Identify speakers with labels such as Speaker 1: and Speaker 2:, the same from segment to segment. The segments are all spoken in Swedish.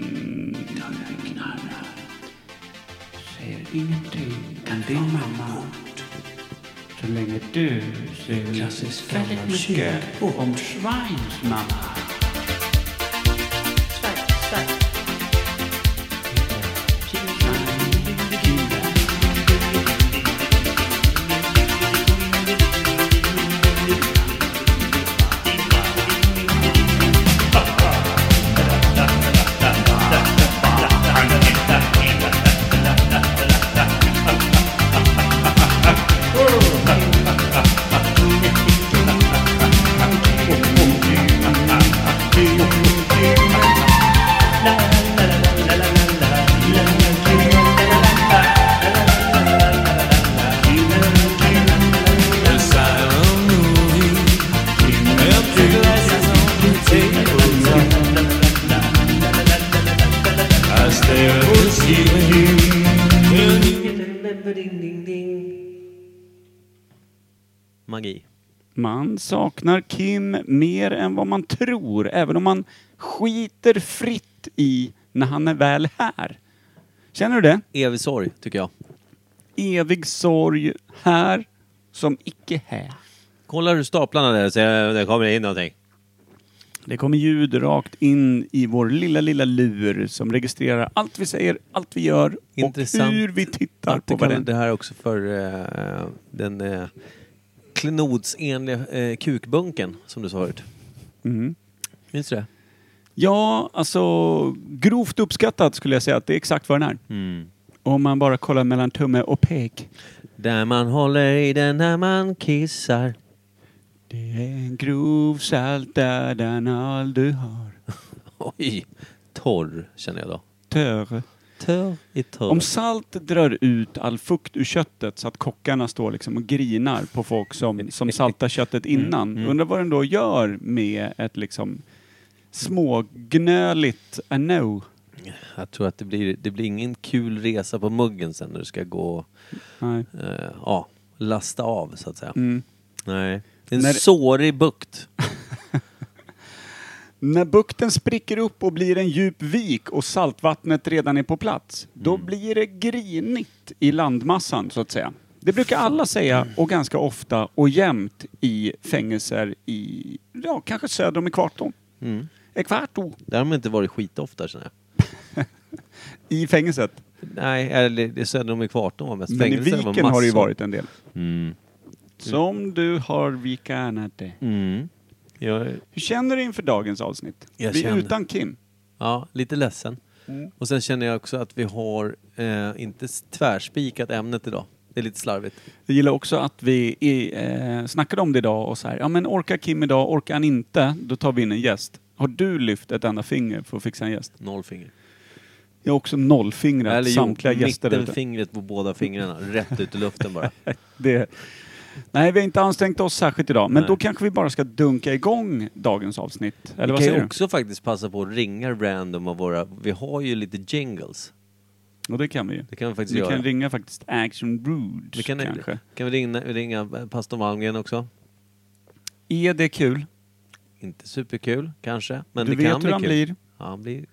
Speaker 1: Dörren knarrar. Säger ingenting. Kan det vara mamma?
Speaker 2: Så länge du ser
Speaker 1: Klassisk
Speaker 2: väldigt
Speaker 1: gammal
Speaker 2: mycket
Speaker 1: kyrkbok.
Speaker 2: om Schweins mamma.
Speaker 3: Magi.
Speaker 4: Man saknar Kim mer än vad man tror, även om man skiter fritt i när han är väl här. Känner du det?
Speaker 3: Evig sorg, tycker jag.
Speaker 4: Evig sorg här som icke här.
Speaker 3: Kollar du staplarna där och ser om det kommer in någonting?
Speaker 4: Det kommer ljud rakt in i vår lilla, lilla lur som registrerar allt vi säger, allt vi gör
Speaker 3: Intressant
Speaker 4: och hur vi tittar
Speaker 3: Att
Speaker 4: på
Speaker 3: det kallar
Speaker 4: varandra.
Speaker 3: det här också för eh, den eh, klenodsenliga eh, kukbunken som du sa förut.
Speaker 4: Mm.
Speaker 3: Minns du det?
Speaker 4: Ja, alltså grovt uppskattat skulle jag säga att det är exakt vad den är.
Speaker 3: Mm.
Speaker 4: Om man bara kollar mellan tumme och pek.
Speaker 3: Där man håller i den när man kissar.
Speaker 4: Det är en grov saltad anal du har.
Speaker 3: Oj! Torr, känner jag då.
Speaker 4: Tör.
Speaker 3: Törr i törr.
Speaker 4: Om salt drar ut all fukt ur köttet så att kockarna står liksom och grinar på folk som, som saltar köttet innan. Undrar vad den då gör med ett liksom smågnöligt ah, I know.
Speaker 3: Jag tror att det blir, det blir ingen kul resa på muggen sen när du ska gå och
Speaker 4: Nej.
Speaker 3: eh, ja, lasta av, så att säga.
Speaker 4: Mm.
Speaker 3: Nej. Det är en
Speaker 4: När-
Speaker 3: sårig bukt.
Speaker 4: När bukten spricker upp och blir en djup vik och saltvattnet redan är på plats, då
Speaker 3: Mm.
Speaker 4: blir det grinigt i landmassan så att säga. Det brukar alla säga och ganska ofta och jämt i fängelser i, ja kanske söder om Ekvatorn.
Speaker 3: Mm.
Speaker 4: Ekvator.
Speaker 3: Där har man inte varit skitofta, känner jag.
Speaker 4: I fängelset.
Speaker 3: Nej, eller det är söder om ekvatorn var mest
Speaker 4: Men i
Speaker 3: fängelse. det
Speaker 4: viken har det ju
Speaker 3: massor.
Speaker 4: varit en del.
Speaker 3: Mm.
Speaker 4: Som du har vikanat det.
Speaker 3: Mm. Jag,
Speaker 4: Hur känner du inför dagens avsnitt?
Speaker 3: Jag
Speaker 4: Vi är
Speaker 3: känner-
Speaker 4: utan Kim.
Speaker 3: ja, lite ledsen.
Speaker 4: Mm.
Speaker 3: Och sen känner jag också att vi har eh, inte s- tvärspikat ämnet idag. Det är lite slarvigt.
Speaker 4: Jag gillar också att vi i, eh, snackade om det idag och så här, ja men orkar Kim idag, orkar han inte, då tar vi in en gäst. Har du lyft ett enda finger för att fixa en gäst?
Speaker 3: Noll finger.
Speaker 4: Jag har också nollfingrat
Speaker 3: Eller jo,
Speaker 4: samtliga gäster där ute.
Speaker 3: mittenfingret på båda fingrarna. rätt ut i luften bara.
Speaker 4: Det... Nej, vi har inte ansträngt oss särskilt idag, men
Speaker 3: Nej.
Speaker 4: då kanske vi bara ska dunka igång dagens avsnitt. Eller vad
Speaker 3: kan
Speaker 4: säger
Speaker 3: ju också faktiskt passa på att ringa random av våra... Vi har ju lite jingles.
Speaker 4: du? Och det kan vi ju.
Speaker 3: Det kan vi faktiskt
Speaker 4: Vi
Speaker 3: göra.
Speaker 4: kan ringa faktiskt Action Rude,
Speaker 3: vi kan,
Speaker 4: kanske.
Speaker 3: kan vi ringa, ringa eh, pastor Malmgren också?
Speaker 4: Är det kul?
Speaker 3: Inte superkul, kanske. Men
Speaker 4: du
Speaker 3: det
Speaker 4: vet
Speaker 3: kan
Speaker 4: hur
Speaker 3: bli
Speaker 4: han
Speaker 3: kul.
Speaker 4: blir.
Speaker 3: Ja, han blir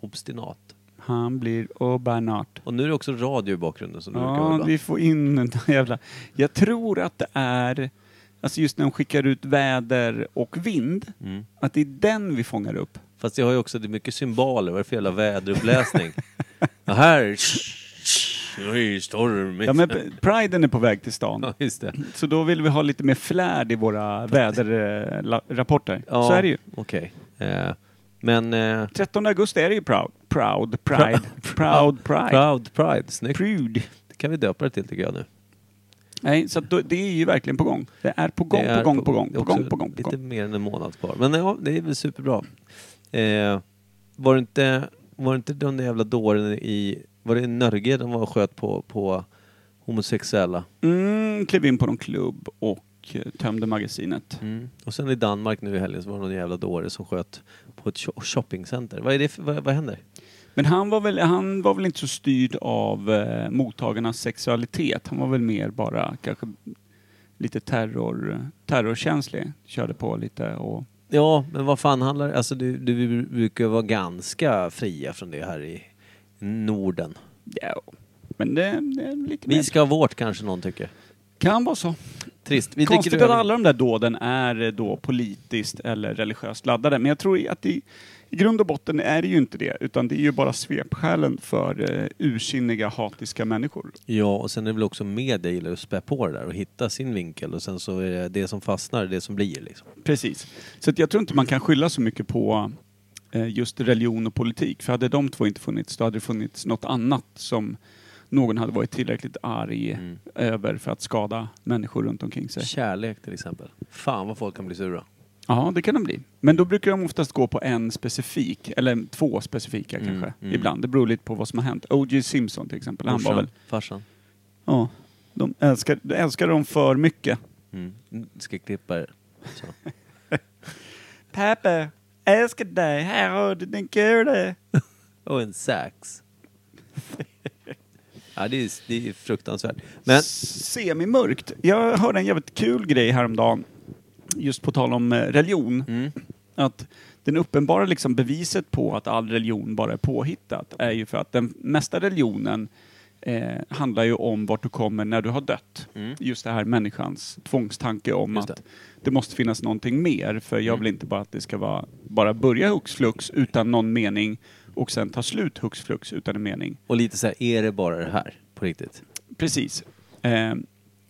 Speaker 3: obstinat.
Speaker 4: Han blir obanat.
Speaker 3: Och nu är det också radio i bakgrunden som du brukar
Speaker 4: Ja,
Speaker 3: hålla.
Speaker 4: vi får in den där jävla... Jag tror att det är... Alltså just när de skickar ut väder och vind,
Speaker 3: Mm.
Speaker 4: att det är den vi fångar upp.
Speaker 3: Fast jag har ju också, det är mycket symboler, vad är det för jävla väderuppläsning? ja, här... Oj, stormigt.
Speaker 4: Ja, men p- priden är på väg till stan.
Speaker 3: Ja, just det.
Speaker 4: Så då vill vi ha lite mer flärd i våra väderrapporter.
Speaker 3: Ja,
Speaker 4: Så är det ju.
Speaker 3: Okej. Eh, men... Eh,
Speaker 4: 13 augusti är det ju proud. Proud, pride. Proud, pride.
Speaker 3: Proud Pride, snyggt.
Speaker 4: Prude.
Speaker 3: Det kan vi döpa det till tycker jag nu.
Speaker 4: Nej, så att då, det är ju verkligen på gång. Det är på gång,
Speaker 3: Det
Speaker 4: på
Speaker 3: är
Speaker 4: gång, på gång,
Speaker 3: det är
Speaker 4: på
Speaker 3: också
Speaker 4: gång, på gång, på
Speaker 3: Lite
Speaker 4: gång.
Speaker 3: mer än en månad kvar. Men ja, det är väl superbra. Eh, var det inte, var det inte den där jävla dåren i, var det i Norge de var och sköt på, på homosexuella?
Speaker 4: Mm, klev in på någon klubb och eh, tömde magasinet.
Speaker 3: Och sen i Danmark nu i helgen så var det någon jävla dåre som sköt på ett sho- shoppingcenter. Vad är det för, vad, vad händer?
Speaker 4: Men han var väl, han var väl inte så styrd av eh, mottagarnas sexualitet. Han var väl mer bara kanske lite terror, terrorkänslig. Körde på lite och
Speaker 3: Ja, men vad fan handlar Alltså du, du brukar vara ganska fria från det här i Norden.
Speaker 4: Ja. Men det, det är lite mer.
Speaker 3: Vi ska ha vårt kanske någon tycker.
Speaker 4: Kan vara så.
Speaker 3: Trist. Vi
Speaker 4: Konstigt
Speaker 3: dricker
Speaker 4: att
Speaker 3: öl.
Speaker 4: alla de där dåden är eh, då politiskt eller religiöst laddade. Men jag tror att i, i grund och botten är det ju inte det. Utan det är ju bara svepskälen för eh, ursinniga, hatiska människor.
Speaker 3: Ja, och sen är det väl också media gillar att spä på det där och hitta sin vinkel och sen så är det det som fastnar, det som blir liksom.
Speaker 4: Precis. Så att jag tror inte man kan skylla så mycket på eh, just religion och politik. För hade de två inte funnits, då hade det funnits något annat som någon hade varit tillräckligt arg
Speaker 3: Mm.
Speaker 4: över för att skada människor runt omkring sig.
Speaker 3: Kärlek till exempel. Fan vad folk kan bli sura.
Speaker 4: Ja, det kan de bli. Men då brukar de oftast gå på en specifik, eller två specifika
Speaker 3: Mm,
Speaker 4: kanske,
Speaker 3: mm.
Speaker 4: ibland. Det beror lite på vad som har hänt. O.J. Simpson till exempel, han var väl...
Speaker 3: farsan.
Speaker 4: Ja, de älskar, de älskar dem för mycket.
Speaker 3: Mm. Skräckdippare. Så.
Speaker 4: Pappa, älskar dig, här har du din kula.
Speaker 3: Och en sax. ja, det är, det är fruktansvärt. Men,
Speaker 4: Semimörkt. Jag hörde en jävligt kul grej häromdagen, just på tal om eh, religion.
Speaker 3: mm.
Speaker 4: att den uppenbara liksom beviset på att all religion bara är påhittat är ju för att den mesta religionen eh, handlar ju om vart du kommer när du har dött.
Speaker 3: Mm.
Speaker 4: Just det här människans tvångstanke om
Speaker 3: Just det. Mm.
Speaker 4: att det måste finnas någonting mer för jag vill inte bara att det ska vara, bara börja hux flux utan någon mening och sen ta slut hux flux utan en mening.
Speaker 3: Och lite så här, är det bara det här? På riktigt?
Speaker 4: Precis. Eh,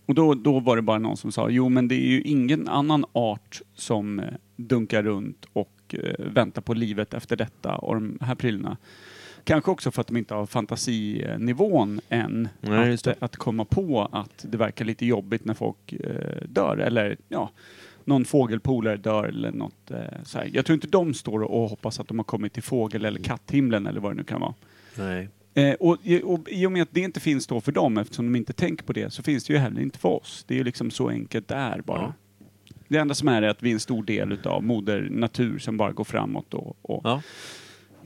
Speaker 4: och då, då var det bara någon som sa, jo men det är ju ingen annan art som eh, dunkar runt och eh, väntar på livet efter detta och de här prylarna. Kanske också för att de inte har fantasinivån än
Speaker 3: Nej, just
Speaker 4: att,
Speaker 3: det.
Speaker 4: att komma på att det verkar lite jobbigt när folk eh, dör eller ja, någon fågelpolare dör eller något eh, så här. Jag tror inte de står och hoppas att de har kommit till fågel eller katthimlen eller vad det nu kan vara.
Speaker 3: Nej.
Speaker 4: Eh, och, i- och I och med att det inte finns då för dem, eftersom de inte tänker på det, så finns det ju heller inte för oss. Det är ju liksom så enkelt det är bara. Det enda som är är att vi är en stor del utav moder natur som bara går framåt. Och, och
Speaker 3: Ja.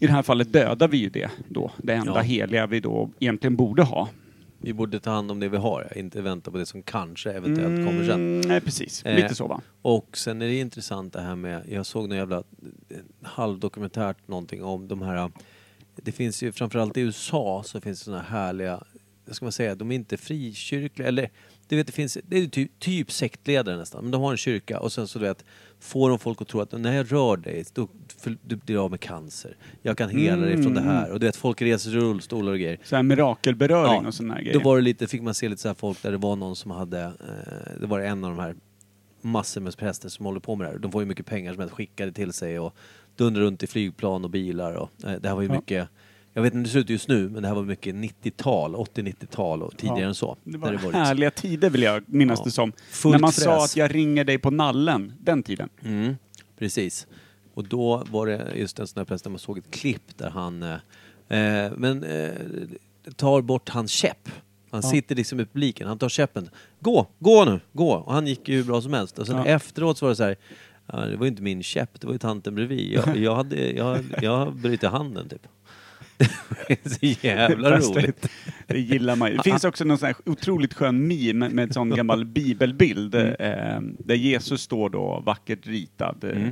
Speaker 4: I det här fallet dödar vi ju det då, det enda
Speaker 3: Ja.
Speaker 4: heliga vi då egentligen borde ha.
Speaker 3: Vi borde ta hand om det vi har, ja. inte vänta på det som kanske eventuellt kommer sen.
Speaker 4: Mm, nej, precis.
Speaker 3: Eh,
Speaker 4: Lite så va?
Speaker 3: Och sen är det intressant det här med, jag såg någon jävla eh, halvdokumentärt någonting om de här, det finns ju framförallt i USA så finns det såna härliga, vad ska man säga, de är inte frikyrkliga eller du vet det finns, det är ju typ, typ sektledare nästan, men de har en kyrka och sen så du vet, får de folk att tro att när jag rör dig då för, du blir av med cancer, jag kan hela dig från det här och du vet folk reser i rullstolar och grejer.
Speaker 4: Så här mirakelberöring och sådana här grejer.
Speaker 3: Då var det lite, fick man se lite så här folk där det var någon som hade, eh, det var en av de här massor med präster som håller på med det här. De får ju mycket pengar som helst skickade till sig och dundrar runt i flygplan och bilar och eh, det här var ju
Speaker 4: Ja.
Speaker 3: mycket, jag vet inte hur det ser ut just nu, men det här var mycket 90-tal, 80-90-tal och tidigare
Speaker 4: Ja.
Speaker 3: än så.
Speaker 4: det
Speaker 3: När
Speaker 4: var
Speaker 3: var liksom-
Speaker 4: härliga tider vill jag minnas
Speaker 3: Ja.
Speaker 4: det som.
Speaker 3: Fullt
Speaker 4: När man
Speaker 3: fräs.
Speaker 4: sa att jag ringer dig på nallen, den tiden.
Speaker 3: Mm, precis. Och då var det just en sån här präst där man såg ett klipp där han eh, eh, men, eh, tar bort hans käpp. Han sitter liksom i publiken, han tar käppen. Gå, gå nu, gå! Och han gick ju hur bra som helst. Och sen
Speaker 4: Ja.
Speaker 3: efteråt så var det så här, "Ja, det var ju inte min käpp, det var ju tanten bredvid. Jag, jag, hade, jag, jag bryter handen typ. Det är så jävla
Speaker 4: Fast det-
Speaker 3: roligt.
Speaker 4: Det gillar man ju. Det finns också någon sån här otroligt skön meme med en sån gammal bibelbild
Speaker 3: Mm.
Speaker 4: eh, där Jesus står då vackert ritad. eh,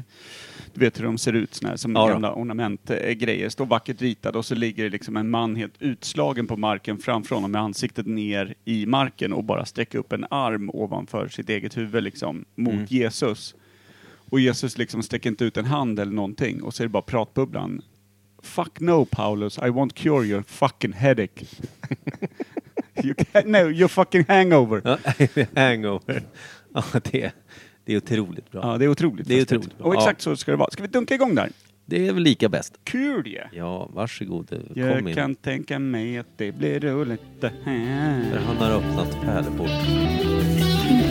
Speaker 4: Du vet hur de ser ut, såna här, som
Speaker 3: Mm. Ja, då.
Speaker 4: gamla ornamentgrejer. Står vackert ritad och så ligger det liksom en man helt utslagen på marken framför honom med ansiktet ner i marken och bara sträcker upp en arm ovanför sitt eget huvud liksom mot
Speaker 3: Mm.
Speaker 4: Jesus. Och Jesus liksom sträcker inte ut en hand eller någonting och så är det bara pratbubblan. Fuck no Paulus, I won't cure your fucking headache. you can, no, your fucking hangover. Ja,
Speaker 3: Ja, Hangover. Ja, det, det är otroligt bra.
Speaker 4: det är otroligt.
Speaker 3: Det är
Speaker 4: festligt.
Speaker 3: otroligt.
Speaker 4: Och exakt så ska det vara. Ska vi dunka igång där?
Speaker 3: Det är väl lika bäst.
Speaker 4: Kul ju!
Speaker 3: Ja, varsågod. Kom
Speaker 4: Jag
Speaker 3: in.
Speaker 4: kan tänka mig att det blir roligt det
Speaker 3: För
Speaker 4: här.
Speaker 3: han har öppnat pärleporten.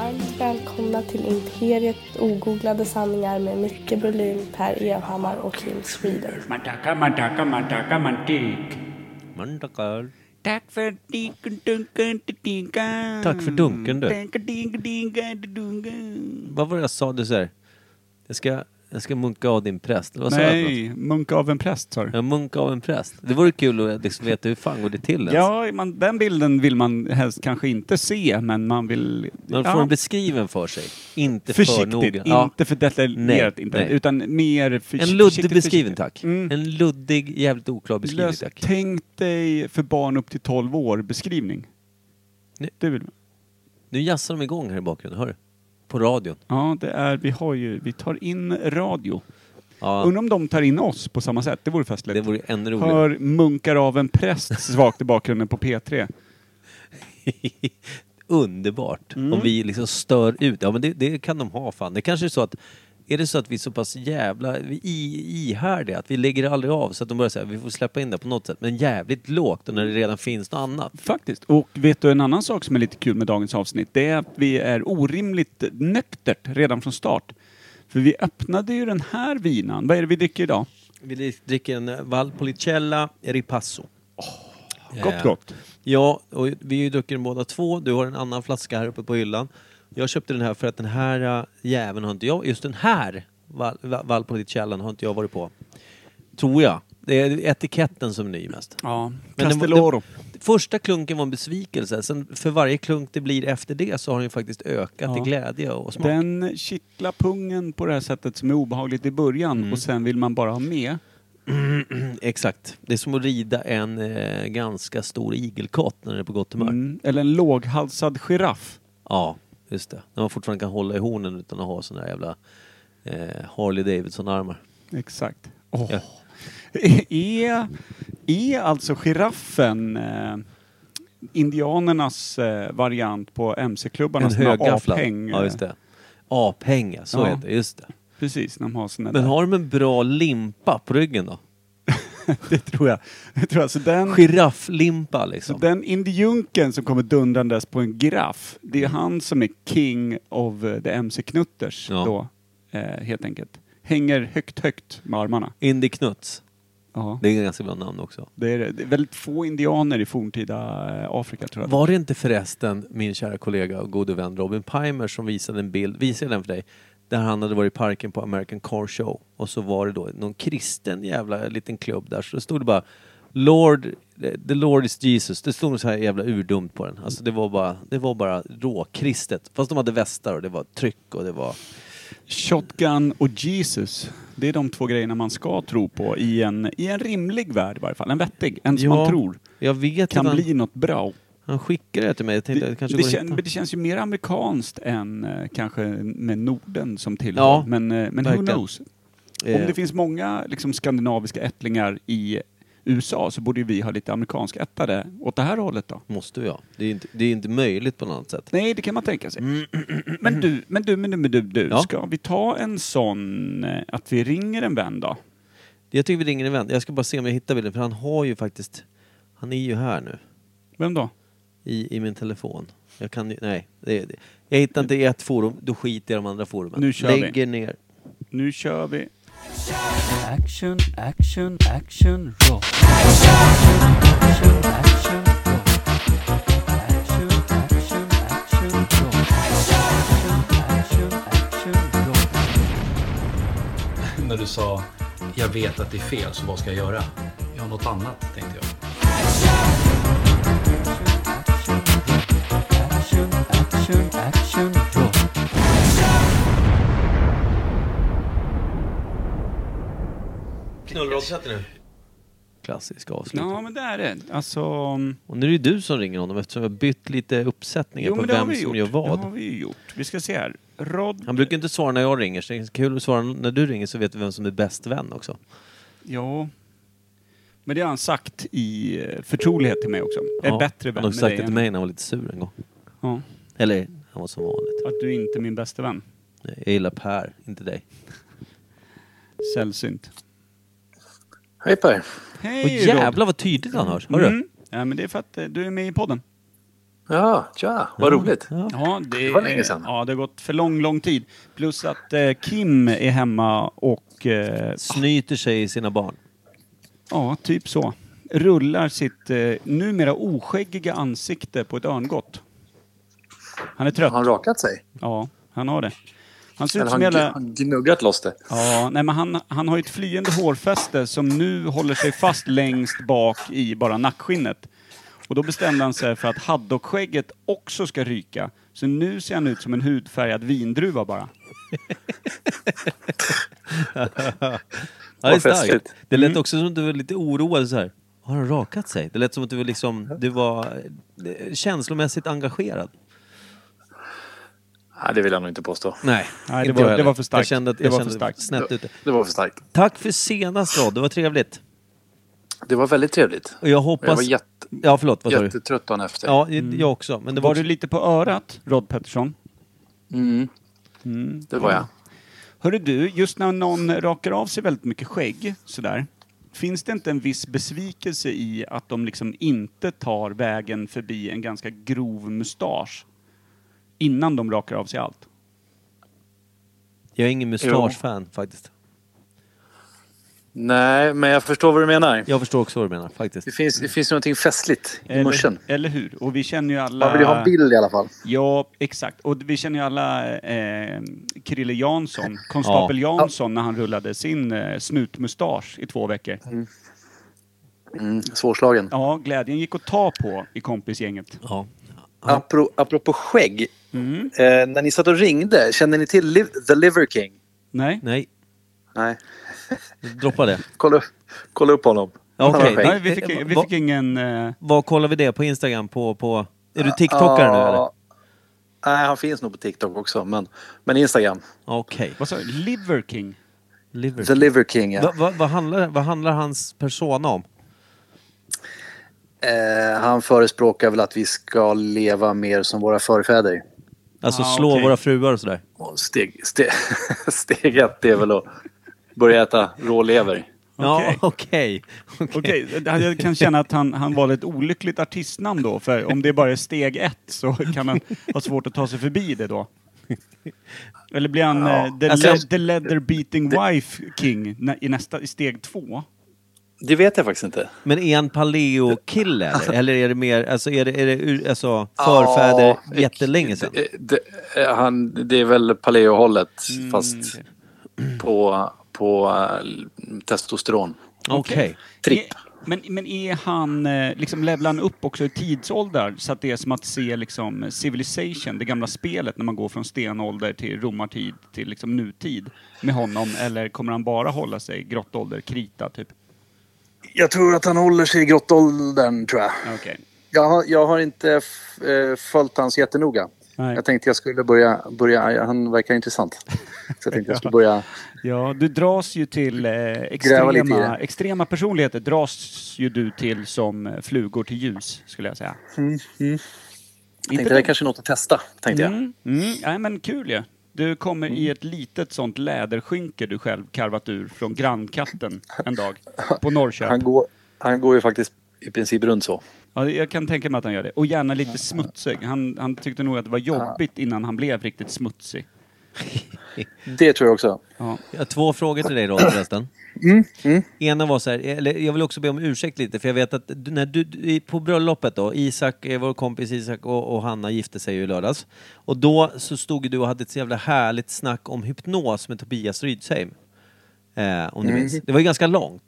Speaker 3: eh,
Speaker 5: välkomna till Imperiet ogooglade sanningar med Micke Berlin, Per Evhammar och Kim Sweden.
Speaker 2: Man tackar, man tackar, man tackar, man tik.
Speaker 3: Man tackar.
Speaker 2: Tack för dinken, dunken, dinken.
Speaker 3: Tack för dunken, du.
Speaker 2: Dinken, dinken, dinken, dunken.
Speaker 3: Vad var det jag sa? Du säger, jag ska, jag ska munka av din präst. Vad sa jag? för något?
Speaker 4: Nej, munk av en präst sa du.
Speaker 3: Jag munkar av en präst. Det vore kul att liksom veta hur fan går det till ens?
Speaker 4: Ja, man, den bilden vill man helst kanske inte se, men man vill...
Speaker 3: Man får
Speaker 4: ja,
Speaker 3: den beskriven för sig. Inte för
Speaker 4: försiktigt,
Speaker 3: noga.
Speaker 4: inte
Speaker 3: Ja.
Speaker 4: för detaljerat,
Speaker 3: Nej,
Speaker 4: inte,
Speaker 3: nej.
Speaker 4: utan mer förs-
Speaker 3: En luddig
Speaker 4: försiktigt,
Speaker 3: beskriven
Speaker 4: försiktigt.
Speaker 3: tack.
Speaker 4: Mm.
Speaker 3: En luddig, jävligt oklar beskrivning
Speaker 4: Lös-
Speaker 3: tack.
Speaker 4: Tänk dig för barn upp till 12 år beskrivning.
Speaker 3: Nej.
Speaker 4: Det vill man.
Speaker 3: Nu jassar de igång här i bakgrunden, hör du? På radion.
Speaker 4: Ja, det är, vi har ju, vi tar in radio.
Speaker 3: Ja,
Speaker 4: Undrar om de tar in oss på samma sätt, det vore festligt.
Speaker 3: det vore ännu roligare.
Speaker 4: Hör munkar av en präst svagt i bakgrunden på P3.
Speaker 3: Underbart. Om vi liksom stör ut. Ja men det, det kan de ha fan. Det kanske är så att är det så att vi är så pass jävla vi är i, ihärdiga att vi lägger aldrig av så att de börjar säga vi får släppa in det på något sätt men jävligt lågt och när det redan finns något annat.
Speaker 4: Faktiskt. Och vet du en annan sak som är lite kul med dagens avsnitt? Det är att vi är orimligt nöktert redan från start. För vi öppnade ju den här vinan. Vad är det vi dricker idag?
Speaker 3: Vi dricker en eh, Valpolicella Ripasso.
Speaker 4: Oh, Gott,
Speaker 3: Eh,
Speaker 4: gott.
Speaker 3: Ja, och vi har ju druckit den båda två. Du har en annan flaska här uppe på hyllan. Jag köpte den här för att den här äh, jäveln har inte jag, just den här Val- Va- Valpolicella har inte jag varit på. Tror jag. Det är etiketten som är ny mest.
Speaker 4: Ja,
Speaker 3: Men det-
Speaker 4: Castelloro.
Speaker 3: Första klunken var en besvikelse, sen för varje klunk det blir efter det så har den ju faktiskt ökat
Speaker 4: Ja.
Speaker 3: i glädje och smak.
Speaker 4: Den kittlar pungen på det här sättet som är obehagligt i början
Speaker 3: Mm.
Speaker 4: och sen vill man bara ha med.
Speaker 3: Exakt. Det är som att rida en eh, ganska stor igelkott när den är på gott humör.
Speaker 4: Mm. Eller en låghalsad giraff.
Speaker 3: Ja, just det. När man fortfarande kan hålla i hornen utan att ha såna här jävla eh, Harley Davidson-armar.
Speaker 4: Exakt. Åh.
Speaker 3: Ja.
Speaker 4: Är, är alltså giraffen eh, indianernas eh, variant på
Speaker 3: En
Speaker 4: mc-klubbarnas såna
Speaker 3: högafflad.
Speaker 4: aphäng,
Speaker 3: Ja, just
Speaker 4: eh,
Speaker 3: det. Aphäng, ja, så
Speaker 4: Ja.
Speaker 3: heter det. Just det.
Speaker 4: Precis, när de har såna
Speaker 3: Men
Speaker 4: där.
Speaker 3: har de en bra limpa på ryggen då?
Speaker 4: Det tror jag. Det tror jag. Så den,
Speaker 3: Girafflimpa
Speaker 4: så
Speaker 3: liksom.
Speaker 4: den indiunken som kommer dundrandes på en giraff, det är
Speaker 3: Mm.
Speaker 4: han som är king of eh, the mc-knutters
Speaker 3: Ja.
Speaker 4: då, eh, helt enkelt. Hänger högt, högt med armarna.
Speaker 3: Indie Knuts.
Speaker 4: Ja.
Speaker 3: Det är ett ganska bra namn också.
Speaker 4: Det är, det. det är väldigt få indianer i forntida eh, Afrika tror jag.
Speaker 3: Var det inte förresten min kära kollega och gode vän Robin Pimer som visade en bild, visade jag den för dig? Där han hade varit i parken på American Car Show och så var det då någon kristen jävla liten klubb där så stod det bara Lord, the Lord is Jesus. Det stod så här jävla urdumt på den. Alltså det var bara, det var bara råkristet. Fast de hade västar och det var tryck och det var...
Speaker 4: Shotgun och Jesus, det är de två grejerna man ska tro på i en, i en rimlig värld i varje fall. En vettig, en som
Speaker 3: Ja,
Speaker 4: man tror
Speaker 3: Jag vet
Speaker 4: kan
Speaker 3: att han,
Speaker 4: bli något bra.
Speaker 3: han skickade det till mig. Jag tänkte
Speaker 4: Det,
Speaker 3: att det kanske
Speaker 4: det,
Speaker 3: går
Speaker 4: kän,
Speaker 3: att
Speaker 4: men
Speaker 3: hitta.
Speaker 4: det känns ju mer amerikanskt än eh, kanske med Norden som tillhör.
Speaker 3: Ja,
Speaker 4: men eh, men who
Speaker 3: verkligen. Eh.
Speaker 4: knows? Om det finns många liksom, skandinaviska ättlingar i USA så borde ju vi ha lite amerikansk ättare åt det här hållet då.
Speaker 3: Eh, måste jag. Det är, inte, det är inte möjligt på något annat sätt.
Speaker 4: Nej, det kan man tänka sig. Men du, men du, men du, men du, du.
Speaker 3: Mm. Ja.
Speaker 4: ska vi ta en sån, eh, att vi ringer en vän då?
Speaker 3: Jag tycker vi ringer en vän. Jag ska bara se om jag hittar bilden, för han har ju faktiskt... Han är ju här nu,
Speaker 4: Vem då?
Speaker 3: i, i min telefon. Jag kan ju... Nej. Det, det. Jag hittar inte i ett forum, då skiter jag i de andra forumen.
Speaker 4: Nu kör vi.
Speaker 3: Lägger ner.
Speaker 4: Nu kör vi.
Speaker 6: Action, action, action, roll. Action, action, roll. Action, action, action, roll. Action, action, action, roll.
Speaker 7: när du sa jag vet att det är fel, så vad ska jag göra? Ja, något annat, tänkte jag.
Speaker 6: Action, action, action, roll.
Speaker 3: Knullrådssätter nu. Klassisk avslutning.
Speaker 4: Ja, men det är det. Alltså... mm,
Speaker 3: Och nu är det du som ringer honom eftersom jag har bytt lite uppsättningar
Speaker 4: Jo,
Speaker 3: på
Speaker 4: men det har
Speaker 3: vem
Speaker 4: vi
Speaker 3: som
Speaker 4: gjort.
Speaker 3: gör vad.
Speaker 4: Det har vi ju gjort. Vi ska se här. Rod...
Speaker 3: Han brukar inte svara när jag ringer, så det är kul att svara när du ringer så vet du vem som är bäst vän också.
Speaker 4: Ja. Men det har han sagt i eh, förtrolighet till mig också. Jag är bättre vän
Speaker 3: Han har
Speaker 4: med
Speaker 3: sagt
Speaker 4: dig
Speaker 3: det till
Speaker 4: än-
Speaker 3: mig när han var lite sur en gång.
Speaker 4: Ja.
Speaker 3: Eller, han var som vanligt.
Speaker 4: Att du inte är min bästa vän.
Speaker 3: Jag gillar Per, inte dig.
Speaker 4: Sällsynt.
Speaker 8: Hej Per.
Speaker 4: Hej
Speaker 3: Och
Speaker 4: Rod.
Speaker 3: jävlar vad tydligt han hörs. Hör du?
Speaker 4: Mm. Ja, men det är för att eh, du är med i podden.
Speaker 8: Ja, tja, vad roligt.
Speaker 3: Ja.
Speaker 4: Ja, det,
Speaker 8: Det var länge sedan.
Speaker 4: Ja, det har gått för lång, lång tid. Plus att eh, Kim är hemma och eh,
Speaker 3: Snyter sig i sina barn.
Speaker 4: ja, typ så. Rullar sitt eh, numera oskäggiga ansikte på ett örngott. Han är trött.
Speaker 8: Har han rakat sig?
Speaker 4: Ja, han har det. Han ser ut
Speaker 8: Eller
Speaker 4: som
Speaker 8: han,
Speaker 4: hela...
Speaker 8: han gnuggat loss det?
Speaker 4: Ja, nej men han, han har ju ett flyende hårfäste som nu håller sig fast längst bak i bara nackskinnet. Och då bestämde han sig för att haddockskägget också ska ryka. Så nu ser han ut som en hudfärgad vindruva bara.
Speaker 3: Ja, det är
Speaker 8: Vad festligt. Mm.
Speaker 3: starkt. Det lät också som att du var lite oroad så här. Har han rakat sig? Det lät som att du var, liksom, du var eh, känslomässigt engagerad.
Speaker 8: Nej, det vill jag nog inte påstå.
Speaker 3: Nej,
Speaker 4: Nej, det
Speaker 3: inte
Speaker 4: var- det
Speaker 3: jag heller.
Speaker 4: var för starkt.
Speaker 3: Jag kände att
Speaker 4: Det
Speaker 3: jag
Speaker 4: var
Speaker 3: kände
Speaker 4: för starkt.
Speaker 3: snett ute.
Speaker 8: Det var för starkt.
Speaker 3: Tack för senast Rod, det var trevligt.
Speaker 8: Det var väldigt trevligt.
Speaker 3: Och jag
Speaker 8: Och Jag
Speaker 3: hoppas...
Speaker 8: var jätte,
Speaker 3: Ja, förlåt. Vad sa du?
Speaker 8: jättetrött dagen efter.
Speaker 3: Ja, jag också. Men det var,
Speaker 4: Var du lite på örat, Rod Pettersson?
Speaker 8: Mm. Det var jag.
Speaker 4: Hörru du, just när någon rakar av sig väldigt mycket skägg sådär. Finns det inte en viss besvikelse i att de liksom inte tar vägen förbi en ganska grov mustasch? Innan de rakar av sig allt.
Speaker 3: Jag är ingen mustaschfan faktiskt.
Speaker 8: Nej, men jag förstår vad du menar.
Speaker 3: Jag förstår också vad du menar faktiskt.
Speaker 8: Det finns, det finns någonting festligt i muschen.
Speaker 4: Eller, eller hur? Och vi känner ju alla...
Speaker 8: Man vill ju ha en bild i alla fall.
Speaker 4: Ja, exakt. Och vi känner ju alla eh, Krille Jansson, konstapel Jansson, när han rullade sin eh, snutmustasch i två veckor.
Speaker 8: Mm. Svårslagen.
Speaker 4: Ja, glädjen gick att ta på i kompisgänget.
Speaker 3: Ja. Mm.
Speaker 8: Apro, apropå skägg. Eh, när ni satt och ringde, kände ni till Liv- The Liver King?
Speaker 4: Nej?
Speaker 3: Nej,
Speaker 8: Nej.
Speaker 3: droppa det.
Speaker 8: Kolla, upp- kolla upp honom.
Speaker 3: Ja, okej.
Speaker 8: Han har skägg.
Speaker 4: Nej, vi fick, vi fick ingen... Eh,
Speaker 3: Vad kollar vi det på Instagram? På, på... Är du TikTokare nu eller?
Speaker 8: Ja. Nej, han finns nog på TikTok också, men, men Instagram.
Speaker 3: Okej.
Speaker 4: vad sa du? Liver King?
Speaker 3: Liver.
Speaker 8: The Liver King, ja.
Speaker 3: Va, va, vad, handlar, vad handlar hans persona om?
Speaker 8: eh, Han förespråkar väl att vi ska leva mer som våra förfäder.
Speaker 3: Alltså
Speaker 4: Ah,
Speaker 3: slå
Speaker 4: okej.
Speaker 3: våra fruar och sådär.
Speaker 8: Och Steg, steg, steg ett är väl att börja äta rålever.
Speaker 3: Ja,
Speaker 4: Okej.
Speaker 3: okej.
Speaker 4: Okej, jag kan känna att han, han valde ett olyckligt artistnamn då, för om det bara är steg ett så kan han ha svårt att ta sig förbi det då. Eller blir han eh, the,
Speaker 3: Alltså,
Speaker 4: le-
Speaker 3: jag-
Speaker 4: the Leather Beating Wife King nä, i, nästa, i steg två?
Speaker 8: Det vet jag faktiskt inte.
Speaker 3: Men är han paleo-kille eller? eller är det mer, alltså är det, är det ur, alltså förfäder
Speaker 8: Ja,
Speaker 3: jättelänge
Speaker 4: eh,
Speaker 3: sedan?
Speaker 8: Det, det, eh, han, det är väl paleohållet, fast på, på eh, testosteron.
Speaker 3: Okej.
Speaker 8: Tripp.
Speaker 4: Är- Men, men är han, eh, liksom levlar han upp också i tidsåldrar så att det är som att se liksom Civilization, det gamla spelet när man går från stenålder till romartid till liksom nutid med honom eller kommer han bara hålla sig i grottålder, krita typ?
Speaker 8: Jag tror att han håller sig i grottåldern, tror jag.
Speaker 4: Okej.
Speaker 8: Jag har, jag har inte f- eh, följt hans jättenoga.
Speaker 4: Nej.
Speaker 8: Jag tänkte jag skulle börja, börja... Han verkar intressant. Så jag tänkte jag skulle börja...
Speaker 4: Ja, du dras ju till eh,
Speaker 8: Gräva lite i
Speaker 4: extrema,
Speaker 8: det.
Speaker 4: extrema personligheter dras ju du till som eh, flugor till ljus, skulle jag säga.
Speaker 8: Tänkte det är kanske är något att testa, tänkte jag. Mm.
Speaker 4: Mm, mm, nej men kul ju. Du kommer i ett litet sånt läderskynke du själv karvat ur från grannkatten en dag på Norrköping.
Speaker 8: Han går, han går ju faktiskt i princip runt så.
Speaker 4: Ja, jag kan tänka mig att han gör det. Och gärna lite smutsig. Han, han tyckte nog att det var jobbigt innan han blev riktigt smutsig.
Speaker 8: Det tror jag också.
Speaker 4: Ja.
Speaker 3: Jag har två frågor till dig då förresten.
Speaker 4: Mm,
Speaker 3: Ena var så här, eller jag vill också be om ursäkt lite för jag vet att du, när du- du, i- på bröllopet då, Isak, eh, vår kompis Isak och, och Hanna gifte sig ju i lördags. Och då så stod ju du och hade ett så jävla härligt snack om hypnos med Tobias Rydsheim. Eh, om du minns. Det var ju ganska långt.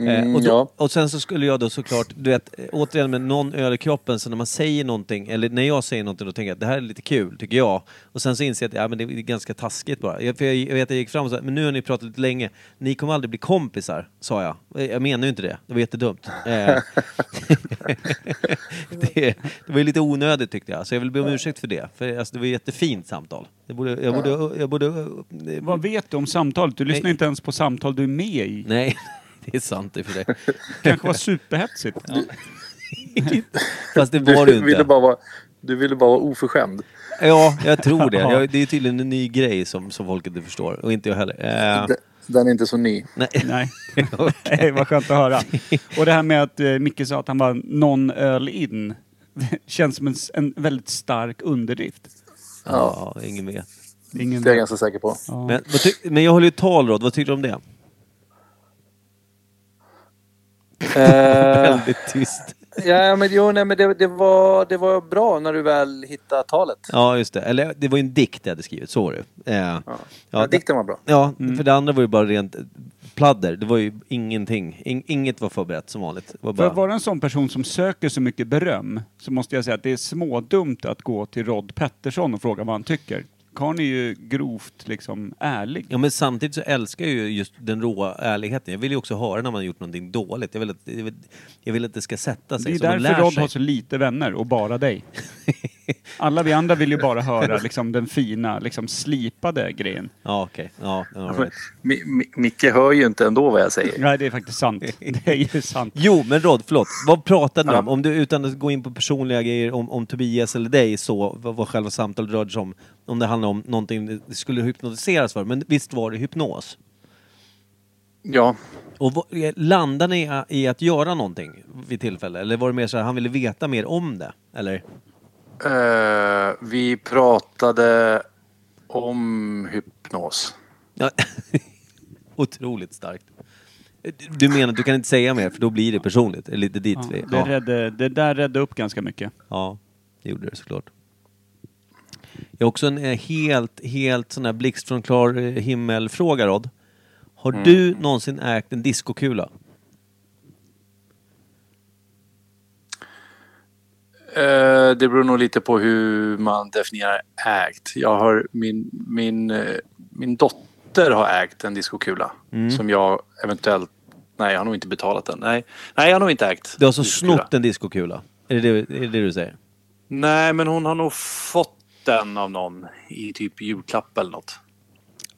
Speaker 3: Eh, och, då,
Speaker 8: ja.
Speaker 3: och sen så skulle jag då såklart, du vet, eh, återigen med någon öl i kroppen, så när man säger någonting, eller när jag säger någonting, då tänker jag att det här är lite kul, tycker jag. Och sen så inser jag att ja, men det är ganska taskigt bara. Jag, för jag, jag vet att jag gick fram och sa, men nu har ni pratat lite länge, ni kommer aldrig bli kompisar, sa jag. Eh, Jag menar ju inte det, det var jättedumt. Eh, det, det var ju lite onödigt tyckte jag, så jag vill be om ursäkt för det. För alltså, det var ett jättefint samtal. Jag borde, jag borde, jag borde, eh,
Speaker 4: Vad
Speaker 8: Mm.
Speaker 4: vet du om samtalet? Du lyssnar inte ens på samtal du är med i.
Speaker 3: Nej, det är sant i och för sig.
Speaker 4: kanske var superhetsigt.
Speaker 3: Fast det var det ju inte.
Speaker 8: vara, du ville bara vara oförskämd.
Speaker 3: Ja, jag tror det.
Speaker 4: Ja.
Speaker 3: Jag, det är tydligen en ny grej som, som folk inte förstår. Och inte jag heller. Eh,
Speaker 8: Den- Den är inte så ny.
Speaker 3: nej.
Speaker 4: Nej. Nej, vad skönt att höra. Och det här med att eh, Micke sa att han var någon öl in. känns som en, s- en väldigt stark underdrift.
Speaker 3: Ja, ingen vet.
Speaker 4: Ingen...
Speaker 8: Det är jag ganska säker på.
Speaker 4: Ja.
Speaker 3: Men, vad ty- men jag håller ju talråd, vad tycker du om det?
Speaker 8: Eh,
Speaker 3: Väldigt tyst.
Speaker 8: ja, men, jo, nej, men det, det, var, det var bra när du väl hittade talet.
Speaker 3: Ja, just det. Eller det var ju en dikt jag hade skrivit, så var det eh,
Speaker 8: Ja.
Speaker 3: ja, det-
Speaker 8: Dikten var bra.
Speaker 3: Ja, för det andra var ju bara rent pladder. Det var ju ingenting. In- inget var förberett som vanligt. Det var
Speaker 4: För
Speaker 3: bara...
Speaker 4: att vara en sån person som söker så mycket beröm så måste jag säga att det är smådumt att gå till Rod Pettersson och fråga vad han tycker. Karln är ju grovt liksom ärlig.
Speaker 3: Ja men samtidigt så älskar jag ju just den råa ärligheten. Jag vill ju också höra när man har gjort någonting dåligt. Jag vill att, jag vill, jag vill att det ska sätta
Speaker 4: Det
Speaker 3: sig.
Speaker 4: är
Speaker 3: så man lär
Speaker 4: därför Rod
Speaker 3: sig.
Speaker 4: har så lite vänner och bara dig. Alla vi andra vill ju bara höra liksom, den fina, liksom, slipade grejen.
Speaker 3: Ja okej. Ja,
Speaker 4: Alltså-
Speaker 3: all right.
Speaker 8: Mi, Mi, Micke hör ju inte ändå vad jag säger.
Speaker 4: Nej, det är faktiskt sant. Det är ju sant.
Speaker 3: Jo men Rod, förlåt. Vad pratade ni om? Om du utan att gå in på personliga grejer om, om Tobias eller dig så, vad, vad själva samtalet rörde sig om. Om det handlade om någonting det skulle hypnotiseras för. Men visst var det hypnos?
Speaker 8: Ja,
Speaker 3: Och vad, eh, landade ni i- i att göra någonting vid tillfälle? Eller var det mer så här, han ville veta mer om det? Eller?
Speaker 8: eh, vi pratade om hypnos.
Speaker 3: Ja. Otroligt starkt. Du menar att du kan inte säga mer för då blir det personligt? Det är lite dit vi...
Speaker 4: Det,
Speaker 3: Ja.
Speaker 4: räddade, det där räddade upp ganska mycket.
Speaker 3: ja, det gjorde det såklart. Jag har också en eh, helt, helt sån här blixt från klar eh, himmel-fråga Rod. Har du någonsin ägt en diskokula?
Speaker 8: Eh, det beror nog lite på hur man definierar ägt. Jag har min, min, eh, min dotter har ägt en diskokula
Speaker 3: Mm.
Speaker 8: som jag eventuellt... Nej, jag har nog inte betalat den. Nej, nej jag har nog inte ägt.
Speaker 3: Du har alltså
Speaker 8: diskokula.
Speaker 3: snott en diskokula? Är det det, är det det du säger?
Speaker 8: Nej, men hon har nog fått den av någon i typ julklapp eller något.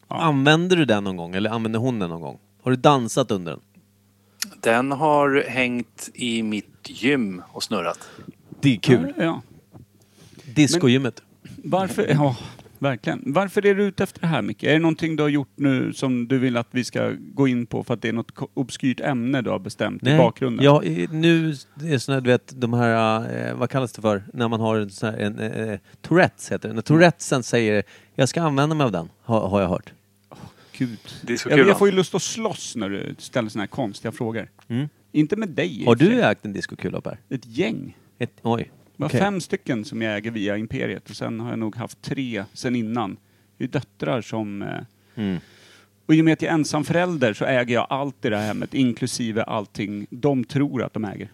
Speaker 3: Använder du den någon gång eller använder hon den någon gång? Har du dansat under den?
Speaker 8: Den har hängt i mitt gym och snurrat.
Speaker 3: Det är kul.
Speaker 4: Ja.
Speaker 3: Discogymmet.
Speaker 4: Varför, ja, verkligen. Varför är du ute efter det här Micke? Är det någonting du har gjort nu som du vill att vi ska gå in på för att det är något ko- obskyrt ämne du har bestämt i bakgrunden?
Speaker 3: Ja, i- nu är såna här, du vet, de här, eh, vad kallas det för, när man har en sån här, en, eh, Tourettes heter det.
Speaker 4: Mm.
Speaker 3: När Tourettesen säger, jag ska använda mig av den, har, har jag hört.
Speaker 4: Gud.
Speaker 8: Det är så
Speaker 4: Jag,
Speaker 8: kul,
Speaker 4: jag får ju lust att slåss när du ställer såna här konstiga frågor. Inte med dig. i
Speaker 3: Mm. Har
Speaker 4: och för
Speaker 3: du
Speaker 4: sig.
Speaker 3: ägt en diskokula Per?
Speaker 4: Ett gäng.
Speaker 3: Ett, oj.
Speaker 4: Det var
Speaker 3: Okej.
Speaker 4: fem stycken som jag äger via Imperiet och sen har jag nog haft tre sen innan. Det är döttrar som... eh,
Speaker 3: Mm.
Speaker 4: Och i och med att jag är ensam förälder så äger jag allt i det här hemmet, inklusive allting de tror att de äger.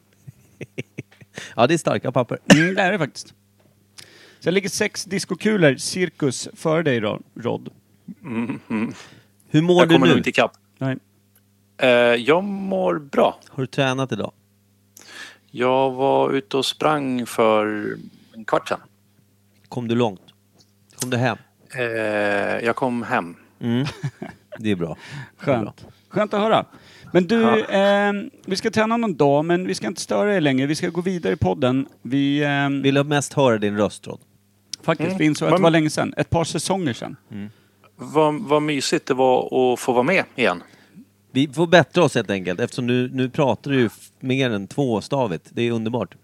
Speaker 3: Ja, det är starka papper.
Speaker 4: Mm, det är det faktiskt. Sen ligger sex diskokulor, cirkus, före dig då, Rod.
Speaker 3: Hur mår
Speaker 8: jag
Speaker 3: du
Speaker 8: kommer
Speaker 3: nu?
Speaker 8: nog inte ikapp.
Speaker 4: Nej.
Speaker 8: Eh, jag mår bra.
Speaker 3: Har du tränat idag?
Speaker 8: Jag var ute och sprang för en kvart sedan.
Speaker 3: Kom du långt? Kom du hem?
Speaker 8: Eh, jag kom hem.
Speaker 3: Mm. Det är bra.
Speaker 4: Skönt. Skönt att höra. Men du, eh, vi ska träna någon dag, men vi ska inte störa er längre. Vi ska gå vidare i podden. Vi, eh,
Speaker 3: Vill jag mest höra din röst Rod?
Speaker 4: faktiskt,
Speaker 8: Mm.
Speaker 4: vi insåg att det var länge sedan. Ett par säsonger sedan.
Speaker 8: Vad, vad mysigt det var att få vara med igen.
Speaker 3: Vi får bättra oss helt enkelt eftersom nu, nu pratar du ju f- mer än tvåstavigt. Det är underbart.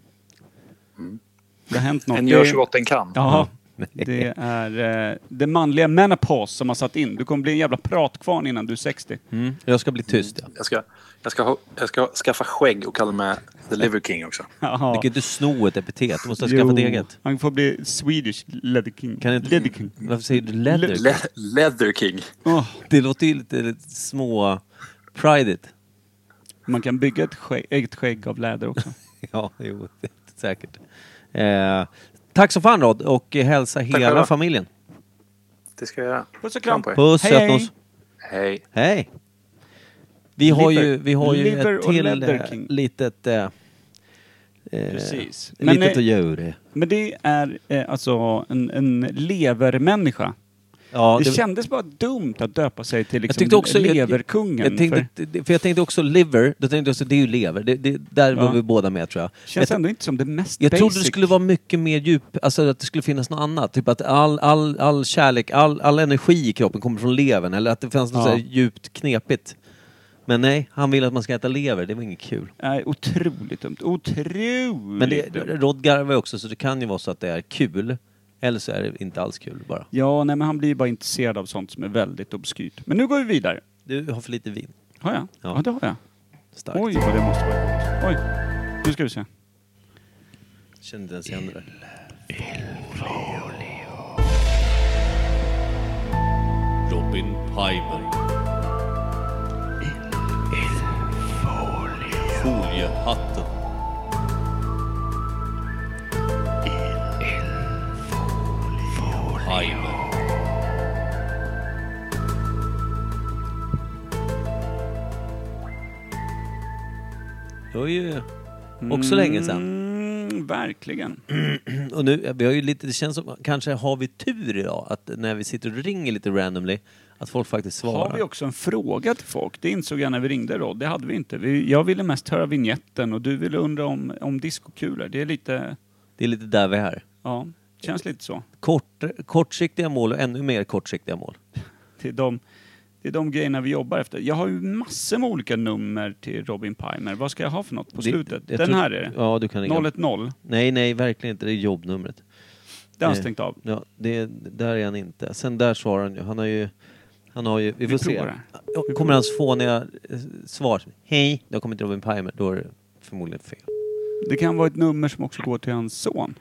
Speaker 4: Det har hänt något.
Speaker 8: En gör
Speaker 4: Det-
Speaker 8: så gott en kan.
Speaker 4: Ja. Det är eh, det manliga menopause som har satt in. Du kommer bli en jävla pratkvarn innan du är 60.
Speaker 3: Mm. Jag ska bli tyst ja.
Speaker 8: Jag ska, jag, ska ha, jag ska skaffa skägg och kalla mig The Liver King också.
Speaker 4: Jaha.
Speaker 3: Du kan ju inte sno ett epitet, du måste skaffa ett
Speaker 4: Jo.
Speaker 3: eget.
Speaker 4: Han får bli Swedish Leather King.
Speaker 3: Kan inte,
Speaker 4: Leather King.
Speaker 3: Varför säger du leather?
Speaker 8: Le, leather King.
Speaker 4: Åh,
Speaker 3: det låter ju lite, lite små... Prideigt.
Speaker 4: man kan bygga ett skägg, ett skägg av läder också.
Speaker 3: Ja, jo, det är säkert. Eh, tack så fan Rod och hälsa hela
Speaker 8: själva.
Speaker 3: familjen.
Speaker 8: Det ska jag göra.
Speaker 4: Puss och kram.
Speaker 8: på er.
Speaker 3: Puss,
Speaker 4: Hej,
Speaker 3: hej,
Speaker 4: hej.
Speaker 3: oss.
Speaker 8: Hej.
Speaker 3: Hej! Vi har ju, vi har ju
Speaker 4: Liver
Speaker 3: ett
Speaker 4: och
Speaker 3: till
Speaker 4: leather
Speaker 3: eh,
Speaker 4: king.
Speaker 3: litet... Eh, eh,
Speaker 4: Precis. Men,
Speaker 3: Litet
Speaker 4: eh,
Speaker 3: att göra.
Speaker 4: Men det är eh, alltså en, en levermänniska.
Speaker 3: Ja,
Speaker 4: det,
Speaker 3: det-
Speaker 4: kändes bara dumt att döpa sig till
Speaker 3: Jag
Speaker 4: liksom
Speaker 3: tyckte också... jag-
Speaker 4: leverkungen.
Speaker 3: Jag, tänkte,
Speaker 4: för
Speaker 3: för... jag tänkte också liver, då tänkte jag också det är ju lever. Det, det, där
Speaker 4: Ja.
Speaker 3: var vi båda med tror jag.
Speaker 4: känns
Speaker 3: jag
Speaker 4: ändå inte som det mest
Speaker 3: Jag
Speaker 4: basic.
Speaker 3: trodde det skulle vara mycket mer djup, alltså att det skulle finnas något annat. Typ att all, all, all kärlek, all, all energi i kroppen kommer från levern eller att det fanns något
Speaker 4: Ja.
Speaker 3: så här djupt knepigt. Men nej, han vill att man ska äta lever. Det var inget kul.
Speaker 4: Nej, otroligt dumt. Otroligt
Speaker 3: Men det,
Speaker 4: dumt.
Speaker 3: Rod garvar ju också så det kan ju vara så att det är kul. Eller så är det inte alls kul bara.
Speaker 4: Ja, nej men han blir bara intresserad av sånt som är väldigt obskyrt. Men nu går vi vidare.
Speaker 3: Du har för lite vin.
Speaker 4: Har jag? Ja,
Speaker 3: Ja.
Speaker 4: det har jag.
Speaker 3: Starkt.
Speaker 4: Oj, vad det måste vara. Oj. Nu ska vi se.
Speaker 3: Känner inte ens igen det där.
Speaker 9: Robin Pimer. Foliehatten. Pimer.
Speaker 3: Det var ju också länge sedan.
Speaker 4: Mm, verkligen.
Speaker 3: Och nu, vi har ju lite, det känns som, kanske har vi tur idag att när vi sitter och ringer lite randomly, att folk faktiskt svarar.
Speaker 4: Har vi också en fråga till folk? Det insåg jag när vi ringde då. Det hade vi inte. Vi, jag ville mest höra vignetten och du ville undra om, om diskokulor. Det är lite...
Speaker 3: Det är lite där vi är.
Speaker 4: Ja, känns lite så.
Speaker 3: Kort, kortsiktiga mål och ännu mer kortsiktiga mål.
Speaker 4: Det är de, det är de grejerna vi jobbar efter. Jag har ju massor med olika nummer till Robin Pimer. Vad ska jag ha för något på
Speaker 3: Det-
Speaker 4: slutet?
Speaker 3: jag
Speaker 4: Den
Speaker 3: tror-
Speaker 4: här är det.
Speaker 3: Ja, du kan ringa.
Speaker 4: 010.
Speaker 3: Nej, nej, verkligen inte. Det är jobbnumret.
Speaker 4: Det har han
Speaker 3: Eh,
Speaker 4: stängt av.
Speaker 3: Ja, det, där är han inte. Sen där svarar han ju. Han har ju... Han har ju vi får se.
Speaker 4: provar
Speaker 3: Ja, Kommer hans fåniga eh, svar. Hej, det har kommit Robin Pimer. Då är det förmodligen fel.
Speaker 4: Det kan vara ett nummer som också går till hans son.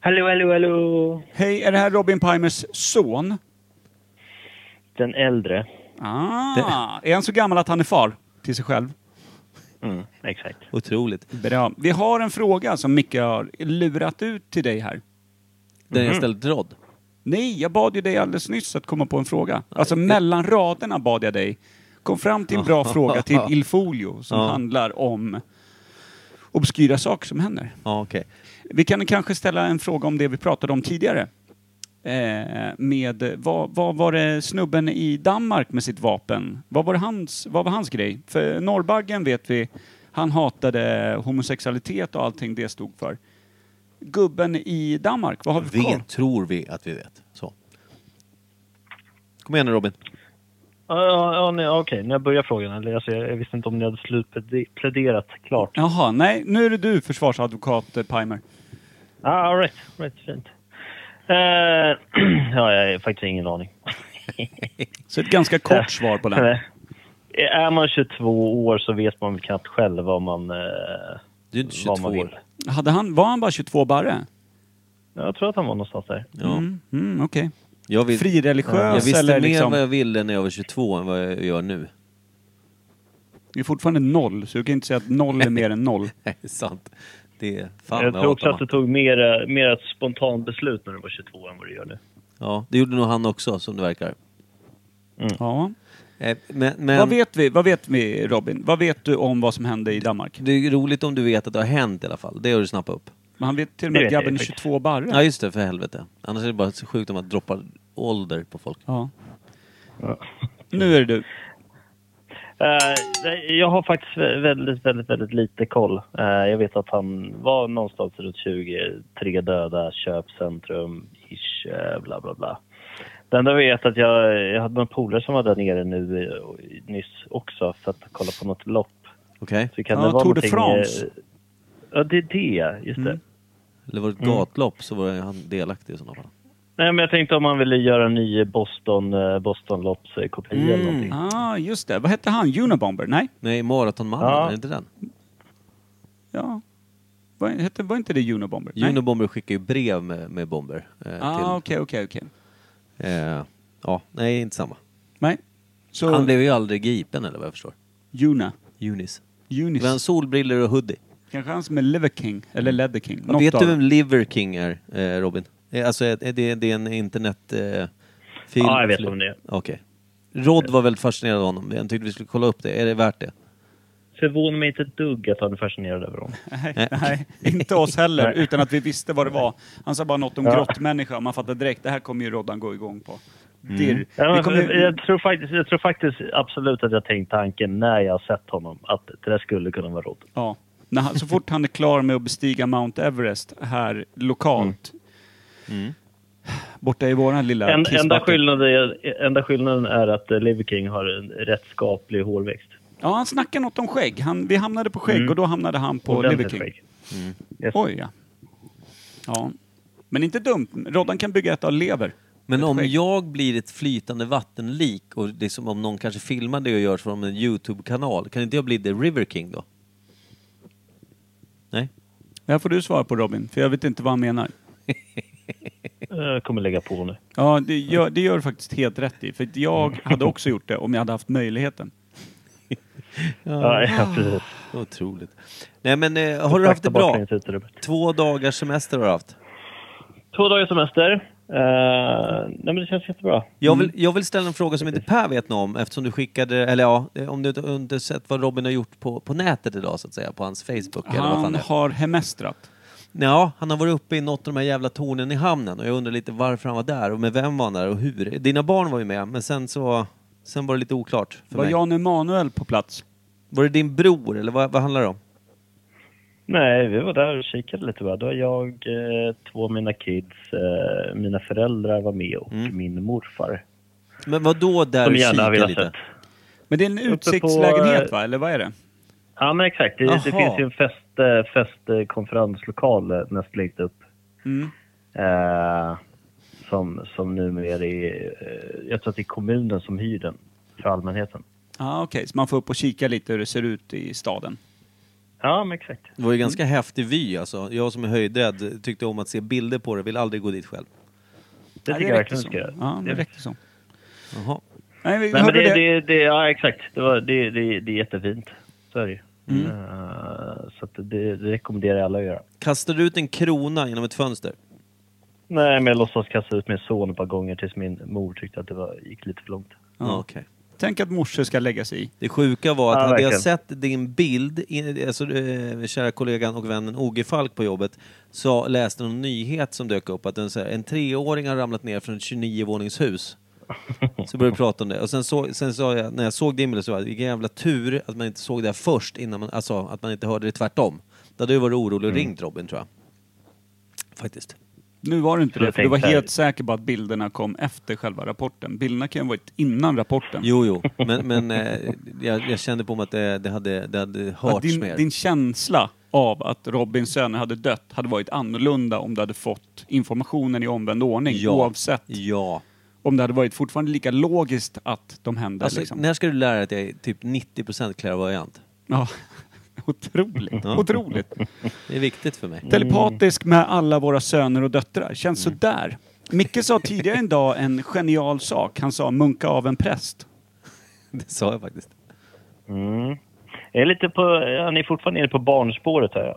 Speaker 10: Hallå, hallå, hallå!
Speaker 4: Hej, är det här Robin Pimers son?
Speaker 10: Den äldre.
Speaker 4: Ah, är han så gammal att han är far till sig själv?
Speaker 10: Mm, exakt.
Speaker 3: Otroligt.
Speaker 4: Bra. Vi har en fråga som Micke har lurat ut till dig här.
Speaker 3: Den
Speaker 4: Mhm.
Speaker 3: jag ställde till Rod.
Speaker 4: Nej, jag bad ju dig alldeles nyss att komma på en fråga. Alltså mellan raderna bad jag dig. Kom fram till en bra fråga till Ilfolio som
Speaker 3: Ja.
Speaker 4: handlar om obskyra saker som händer.
Speaker 3: Ja, okej.
Speaker 4: Vi kan kanske ställa en fråga om det vi pratade om tidigare. Eh, med, vad, vad var det snubben i Danmark med sitt vapen? Vad var, hans, vad var hans grej? För Norrbaggen vet vi, han hatade homosexualitet och allting det stod för. Gubben i Danmark, vad har vi för koll?
Speaker 3: Vet, tror vi att vi vet. Så. Kom igen nu Robin.
Speaker 10: Ja, ja, ja, nej, Okej, när jag börjar frågan. Eller, alltså, jag, jag visste inte om ni hade slutpläderat klart.
Speaker 4: Jaha, nej, nu är det du försvarsadvokat eh, Pimer.
Speaker 10: Ah, all right, all right, fint. Eh, ja, jag har faktiskt ingen aning.
Speaker 4: Så ett ganska kort svar på den.
Speaker 10: Eh, är man 22 år så vet man väl knappt själv vad man, eh,
Speaker 3: Du är inte 22
Speaker 10: vad man vill.
Speaker 3: år.
Speaker 4: Hade han, var han bara 22 barre?
Speaker 10: Jag tror att han var någonstans där.
Speaker 3: Ja.
Speaker 4: Mm, mm, okej.
Speaker 3: Jag, vill, jag
Speaker 4: Frireligiös
Speaker 3: visste
Speaker 4: eller
Speaker 3: mer
Speaker 4: liksom...
Speaker 3: vad jag ville när jag var 22 än vad jag gör nu.
Speaker 4: Det är fortfarande noll, så du kan inte säga att noll är mer än noll.
Speaker 3: Nej, sant. Det är fan
Speaker 10: jag
Speaker 3: vad
Speaker 10: tror också
Speaker 3: hatar
Speaker 10: att du tog mer, eh, mer ett spontant beslut när du var 22 än vad du gör nu.
Speaker 3: Ja, det gjorde nog han också som det verkar. Mm.
Speaker 4: Ja.
Speaker 3: Eh, Men, men
Speaker 4: Vad vet vi, vad vet vi Robin? Vad vet du om vad som hände i Danmark?
Speaker 3: det är roligt om du vet att det har hänt i alla fall. Det har du snappat upp.
Speaker 4: Men han vet till och med att
Speaker 10: Det vet jag
Speaker 4: grabben är
Speaker 10: faktiskt.
Speaker 4: 22 barre.
Speaker 3: Ja, just det, för helvete. Annars är det bara så sjukt om att droppa ålder på folk.
Speaker 4: Ja. Nu är det du.
Speaker 10: Eh, nej, jag har faktiskt vä- väldigt, väldigt, väldigt lite koll. Eh, jag vet att han var någonstans runt 20, tre döda, köpcentrum, ish, eh, bla bla bla. Det enda jag vet är att jag, jag hade några polare som var där nere nu eh, och- nyss också för att kolla på något lopp.
Speaker 3: Okej?
Speaker 10: Så kan
Speaker 4: Ja,
Speaker 10: det vara
Speaker 4: Tour de
Speaker 10: någonting,
Speaker 4: France. Mm.
Speaker 10: eh, Ja, det är det. Just det.
Speaker 3: Eller var det ett
Speaker 10: Mm.
Speaker 3: gatlopp så var han delaktig i sådana fall.
Speaker 10: Nej, men jag tänkte om man ville göra en ny Boston, eh, Bostonloppskopia eller någonting.
Speaker 4: Ah, just det. Vad hette han? Unabomber? Nej?
Speaker 3: Nej, Maratonmannen,
Speaker 10: Ja.
Speaker 3: är det inte den?
Speaker 4: Ja. Var, hette, var inte det Unabomber? Nej.
Speaker 3: Unibomber skickar ju brev med, med bomber. Eh,
Speaker 4: Ah,
Speaker 3: till,
Speaker 4: okej, okej, okej.
Speaker 3: eh, ja, nej, inte samma.
Speaker 4: Nej.
Speaker 3: Han
Speaker 10: Mm.
Speaker 4: Så,
Speaker 3: blev ju aldrig gripen eller vad jag förstår.
Speaker 4: Una.
Speaker 3: Unis.
Speaker 4: Unis.
Speaker 3: Men brillor och hoodie.
Speaker 4: Kanske han som är Liver King, eller Leather King. Något
Speaker 3: Vet
Speaker 4: av
Speaker 3: du
Speaker 4: dem.
Speaker 3: vem Liver King är, eh, Robin? Eh, alltså, är, är det, det är en internet... Eh, film.
Speaker 10: Ja, jag vet om det är.
Speaker 3: Okej. Rod var väldigt fascinerad av honom. Jag tyckte vi skulle kolla upp det. Är det värt det?
Speaker 10: Förvånar mig inte ett dugg att han är fascinerad över honom.
Speaker 4: Nej, nej, inte oss heller, utan att vi visste vad det var. Han sa bara något om grottmänniska och man fattade direkt, det här kommer ju Roddan gå igång på. Dirr.
Speaker 10: Ja,
Speaker 4: Vi
Speaker 10: men, alltså,
Speaker 4: kommer ju-
Speaker 10: jag, tror faktiskt, jag tror faktiskt absolut att jag tänkt tanken när jag har sett honom att det där skulle kunna vara Rod.
Speaker 4: Ja. När han,
Speaker 3: Mm.
Speaker 4: så fort han är klar med att bestiga Mount Everest här lokalt Borta i våran lilla
Speaker 10: En,
Speaker 4: kissbacke.
Speaker 10: enda, skillnaden är, enda skillnaden är att eh, Liver King har en rätt skaplig hårväxt.
Speaker 4: Ja, han snackade något om skägg. Han, vi hamnade på skägg
Speaker 10: Mm.
Speaker 4: och då hamnade han på
Speaker 10: Ordentligt
Speaker 4: Liver King. Mm.
Speaker 10: skägg.
Speaker 4: Oj, ja. ja. Men inte dumt. Roddan kan bygga ett av lever.
Speaker 3: Men om jag blir ett flytande vattenlik och det är som om någon kanske filmar det och gör från en Youtube-kanal, kan inte jag bli The River King då?
Speaker 4: Det här får du svara på Robin, för jag vet inte vad han menar.
Speaker 10: Jag kommer lägga på nu.
Speaker 4: Ja, det gör, det gör du faktiskt helt rätt i. För att jag
Speaker 3: Mm.
Speaker 4: hade också gjort det om jag hade haft möjligheten.
Speaker 10: Ja, ja, precis.
Speaker 3: Otroligt. Nej men eh, har du haft det bra?
Speaker 10: baklänges ut, Robert.
Speaker 3: Två dagars semester har du haft.
Speaker 10: Två dagars semester. Eh, nej, men det känns jättebra.
Speaker 3: Jag
Speaker 10: Mm.
Speaker 3: vill, jag vill ställa en fråga som inte Per vet något om eftersom du skickade, eller ja, eh, om du inte- inte sett vad Robin har gjort på, på nätet idag så att säga, på hans Facebook eller vad fan
Speaker 4: Han
Speaker 3: det är.
Speaker 4: har hemestrat.
Speaker 3: Ja, han har varit uppe i något av de här jävla tornen i hamnen och jag undrar lite varför han var där och med vem var han där och hur. Dina barn var ju med men sen så, sen var det lite oklart för
Speaker 4: Var
Speaker 3: mig.
Speaker 4: Jan Emanuel på plats?
Speaker 3: Var det din bror eller vad, vad handlar det om?
Speaker 10: Nej, vi var där och kikade lite. Bara. Då var jag, eh, två av mina kids, eh, mina föräldrar var med och min morfar.
Speaker 3: Men vad då där
Speaker 10: Som
Speaker 3: och
Speaker 10: gärna
Speaker 3: kika
Speaker 10: har velat
Speaker 3: lite?
Speaker 10: sett.
Speaker 4: Men det är en
Speaker 10: på,
Speaker 4: utsiktslägenhet
Speaker 10: eh,
Speaker 4: va, eller vad är det?
Speaker 10: Ja, men exakt. Det, det
Speaker 3: Jaha.
Speaker 10: finns ju en fest, eh, fest, eh, konferenslokal eh, näst längst upp.
Speaker 4: Mm.
Speaker 10: Eh, som, som numera är... Eh, jag tror att det är kommunen som hyr den för allmänheten.
Speaker 4: Ah, Okej, så man får upp och kika lite hur det ser ut i staden.
Speaker 10: Ja, men exakt.
Speaker 3: Det var ju ganska häftig vy alltså. Jag som är höjdrädd tyckte om att se bilder på det, vill aldrig gå dit själv.
Speaker 10: Det
Speaker 4: Ja,
Speaker 10: tycker jag
Speaker 4: räckte
Speaker 10: verkligen du ska
Speaker 4: så.
Speaker 10: göra.
Speaker 4: Ja, det
Speaker 10: Det-
Speaker 4: räckte så.
Speaker 3: Jaha.
Speaker 4: Nej, vi,
Speaker 10: Nej, men
Speaker 4: hörde
Speaker 10: det,
Speaker 4: det,
Speaker 10: det, det, ja, exakt. Det, var, det, det, det är jättefint. Så är det ju.
Speaker 4: Mm.
Speaker 10: Eh, Så att det, det rekommenderar jag alla att göra.
Speaker 3: Kastar du ut en krona genom ett fönster?
Speaker 10: Nej, men jag låtsas kasta ut min son ett par gånger tills min mor tyckte att det var, gick lite för långt.
Speaker 3: Ja.
Speaker 4: Ja.
Speaker 3: okej.
Speaker 4: Tänk att morse ska lägga sig i.
Speaker 3: Det sjuka var att
Speaker 10: Ja,
Speaker 3: hade jag
Speaker 10: verkligen.
Speaker 3: sett din bild, i- alltså eh, kära kollegan och vännen Oge Falk på jobbet, så läste någon nyhet som dök upp att en, så här, en treåring har ramlat ner från ett 29-våningshus. Så började vi prata om det. Och sen, så, sen sa jag, när jag såg din bild så var det vilken jävla tur att man inte såg det här först innan man, alltså att man inte hörde det tvärtom. Då hade du varit orolig och ringt Robin tror jag. Faktiskt.
Speaker 4: Nu var det inte
Speaker 10: Så
Speaker 4: det,
Speaker 10: jag
Speaker 4: för du var
Speaker 10: tänkte-
Speaker 4: helt säker på att bilderna kom efter själva rapporten. Bilderna kan ju ha varit innan rapporten.
Speaker 3: Jo, jo, men, men eh, jag, jag kände på mig att det, det, hade, det hade
Speaker 4: Att
Speaker 3: hörts
Speaker 4: din,
Speaker 3: mer.
Speaker 4: din känsla av att Robins söner hade dött hade varit annorlunda om du hade fått informationen i omvänd ordning
Speaker 3: Ja.
Speaker 4: oavsett
Speaker 3: Ja.
Speaker 4: om det hade varit fortfarande lika logiskt att de hände.
Speaker 3: Alltså,
Speaker 4: liksom.
Speaker 3: När ska du lära dig att jag är typ 90% klärvoajant?
Speaker 4: ja. Otroligt,
Speaker 3: Ja.
Speaker 4: otroligt.
Speaker 3: Det är viktigt för mig.
Speaker 4: Telepatisk med alla våra söner och döttrar. Känns sådär. Micke sa tidigare en dag en genial sak. Han sa munka av en präst.
Speaker 3: Det sa jag faktiskt.
Speaker 10: Mm. Jag är lite på, ja, ni är fortfarande inne på barnspåret här. ja.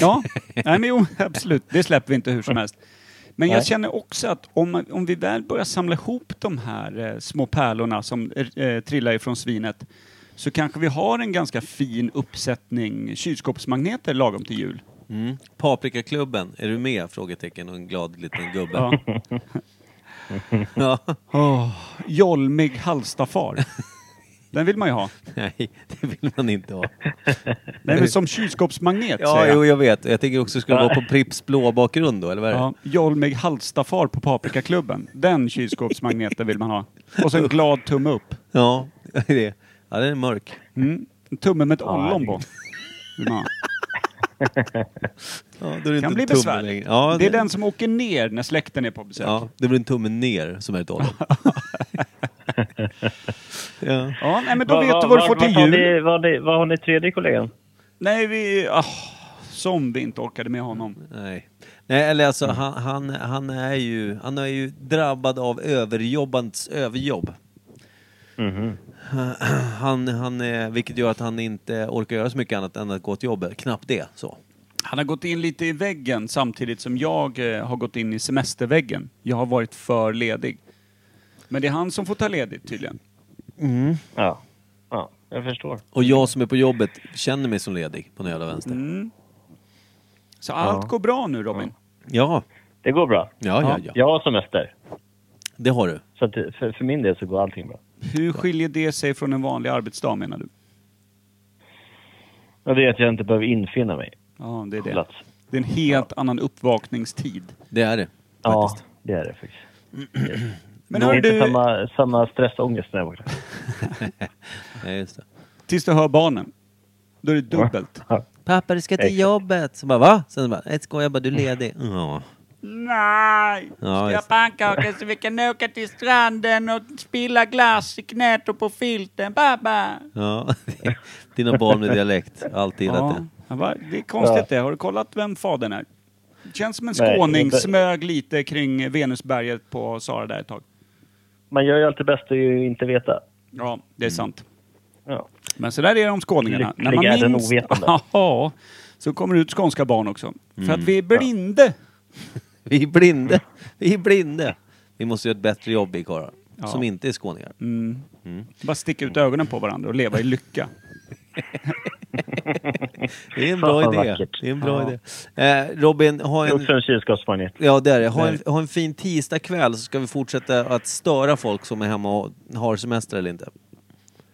Speaker 4: Ja, nej, men jo, absolut. Det släpper vi inte hur som helst. Men jag
Speaker 10: Nej.
Speaker 4: känner också att om, om vi väl börjar samla ihop de här eh, små pärlorna som eh, trillar ifrån svinet så kanske vi har en ganska fin uppsättning kylskåpsmagneter lagom till jul.
Speaker 3: Mm. Paprikaklubben, är du med? Frågetecken och en glad liten gubbe. Ja.
Speaker 4: Ja. Åh, jolmig Halstafar. Den vill man ju ha.
Speaker 3: Nej, det vill man inte ha.
Speaker 4: Nej, men som kylskåpsmagnet
Speaker 3: Ja,
Speaker 4: säger
Speaker 3: jo,
Speaker 4: jag.
Speaker 3: jag vet. Jag tänker också, skulle det vara på Pripps blå bakgrund då, eller vad är det?
Speaker 4: Ja, jolmig Halstafar på Paprikaklubben. Den kylskåpsmagneten vill man ha. Och så en glad tumme upp.
Speaker 3: Ja, det är Ja, den är mörk.
Speaker 4: Mm. En tumme med ett
Speaker 10: Ja,
Speaker 4: ollon på. Ja.
Speaker 3: Ja, då är det
Speaker 4: Kan
Speaker 3: inte
Speaker 4: bli
Speaker 3: tumme
Speaker 4: besvärligt.
Speaker 3: längre. Ja,
Speaker 4: Det är den som åker ner när släkten är på besök. Ja,
Speaker 3: Ja, det blir en tumme ner som är ett ollon. ja.
Speaker 4: nej, men då
Speaker 10: Vad-
Speaker 4: vet
Speaker 10: vad-
Speaker 4: du vad du får
Speaker 10: vad-
Speaker 4: till
Speaker 10: vad har
Speaker 4: jul.
Speaker 10: ni- Vad har ni- vad har ni tredje kollegan?
Speaker 4: Nej, vi... Ah, som vi inte orkade med honom.
Speaker 3: Nej. Nej, eller alltså han, han, han, är ju, han är ju drabbad av överjobbandets överjobb. Mm-hmm. Han, han, är- vilket gör att han inte orkar göra så mycket annat än att gå till jobbet. Knappt det. Så.
Speaker 4: Han har gått in lite i väggen samtidigt som jag eh, har gått in i semesterväggen. Jag har varit för ledig. Men det är han som får ta ledigt tydligen.
Speaker 10: Ja. ja, jag förstår.
Speaker 3: Och jag som är på jobbet känner mig som ledig på den jävla vänster.
Speaker 4: Så allt går bra nu Robin.
Speaker 3: Ja.
Speaker 10: Det går bra.
Speaker 3: Ja, ja, ja.
Speaker 10: Jag har semester.
Speaker 3: Det har du.
Speaker 10: Så att det- för, för min del så går allting bra.
Speaker 4: Hur skiljer det sig från en vanlig arbetsdag menar du?
Speaker 10: Och det är att jag inte behöver infinna mig
Speaker 4: Ja, det är
Speaker 10: på
Speaker 4: det.
Speaker 10: plats.
Speaker 4: Det är en helt annan uppvakningstid.
Speaker 3: Det är det.
Speaker 10: Ja,
Speaker 3: Faktiskt.
Speaker 10: Det är det faktiskt.
Speaker 4: Men
Speaker 10: Men har
Speaker 4: hör
Speaker 10: inte
Speaker 4: du-
Speaker 10: samma, samma stress och ångest när jag vaknar.
Speaker 3: Nej, just det.
Speaker 4: Tills du hör barnen. Då är det dubbelt.
Speaker 3: Pappa, du ska till
Speaker 4: Exakt.
Speaker 3: jobbet. Så bara, va? Sen bara, nej skoja bara, du är ledig. Ja.
Speaker 2: Nej!
Speaker 3: Ja,
Speaker 2: Ska
Speaker 3: just
Speaker 2: jag pannkaka så vi kan åka till stranden och spilla glass i knät och på filten, pappa?
Speaker 3: ja. Dina barn med dialekt. Alltid gillat det.
Speaker 4: Ja, va? Det är konstigt det. Har du kollat vem fadern är? Känns som en skåning,
Speaker 10: Nej, inte-
Speaker 4: smög lite kring Venusberget på Sara där ett tag.
Speaker 10: Man gör ju alltid bäst att ju inte veta.
Speaker 4: Ja, det är sant.
Speaker 10: Ja.
Speaker 4: Men så där är det om skåningarna.
Speaker 10: Lyckliga är den ovetande.
Speaker 4: Ja, så kommer det ut skånska barn också. För att
Speaker 3: Mm.
Speaker 4: vi är blinde.
Speaker 3: Vi är blinde. Vi är blinde. Vi måste göra ett bättre jobb vi karlar.
Speaker 4: Ja.
Speaker 3: Som inte är skåningar.
Speaker 4: Mm.
Speaker 3: Mm.
Speaker 4: Bara sticka ut ögonen på varandra och leva i lycka.
Speaker 3: Det är en bra
Speaker 10: Fan, vad
Speaker 3: idé.
Speaker 10: vackert.
Speaker 3: Det är en bra
Speaker 10: Ja.
Speaker 3: idé. Eh, Robin, ha
Speaker 10: Det är
Speaker 3: en...
Speaker 10: också en kylskåpsmagnet.
Speaker 3: Ja, det är det. Ha en, ha en fin tisdagkväll så ska vi fortsätta att störa folk som är hemma och har semester eller inte.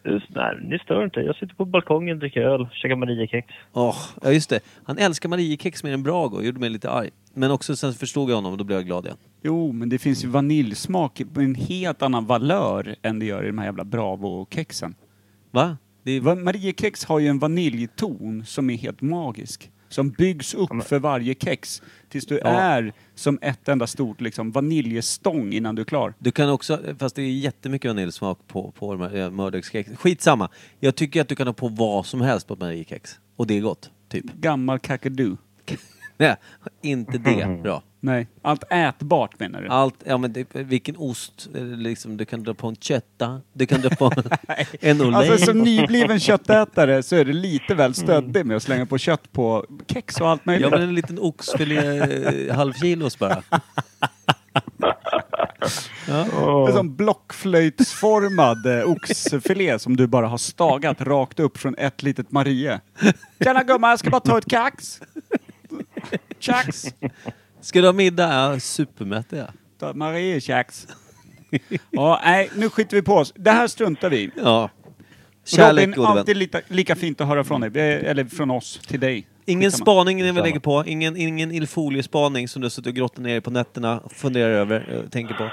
Speaker 10: Just, nej, ni stör inte. Jag sitter på balkongen, dricker öl, käkar Mariekex.
Speaker 3: Åh, ja just det. Han älskar Mariekex mer än Brago. Gjorde mig lite arg. Men också sen förstod jag honom och då blev jag glad igen.
Speaker 4: Jo, men det finns ju vaniljsmak i en helt annan valör än det gör i de här jävla Bravo-kexen.
Speaker 3: Va? Det är...
Speaker 4: Va- Mariekex har ju en vaniljton som är helt magisk. Som byggs upp för varje kex tills du är som ett enda stort liksom, vaniljstång innan du är klar.
Speaker 3: Du kan också, fast det är jättemycket vaniljsmak på, på de här, eh, mördögskex. Skitsamma. Jag tycker att du kan ha på vad som helst på ett Mariekex. Och det är gott, typ.
Speaker 4: Gammal kakadu.
Speaker 3: Nej, inte det. Bra.
Speaker 4: Nej, allt ätbart menar du?
Speaker 3: Allt, ja men det, vilken ost, eh, liksom, du kan dra på en kötta, du kan dra på en olej.
Speaker 4: Alltså som nybliven Mm. köttätare så är det lite väl stöddig med att slänga på kött på kex och allt
Speaker 3: Ja
Speaker 4: möjligt.
Speaker 3: men en liten oxfilé, eh, halvkilos bara.
Speaker 4: En sån blockflöjtsformad eh, oxfilé som du bara har stagat rakt upp från ett litet Marie. Tjena gumman, jag ska bara ta ett kax. Kax.
Speaker 3: Ska du ha middag? Ja, supermätt är jag.
Speaker 4: Ta ett Marie-kax. Ja, nej, nu skiter vi på oss. Det här struntar vi i.
Speaker 3: Ja. Kärlek
Speaker 4: Robin,
Speaker 3: gode vän.
Speaker 4: alltid lika, lika fint att höra från dig. Eh, Eller från oss, till dig.
Speaker 3: Ingen
Speaker 4: Skitsamma.
Speaker 3: spaning ni vill lägga på, ingen, ingen ilfoliespaning som du har suttit och grottat ner i på nätterna, funderar över, eh, tänker på.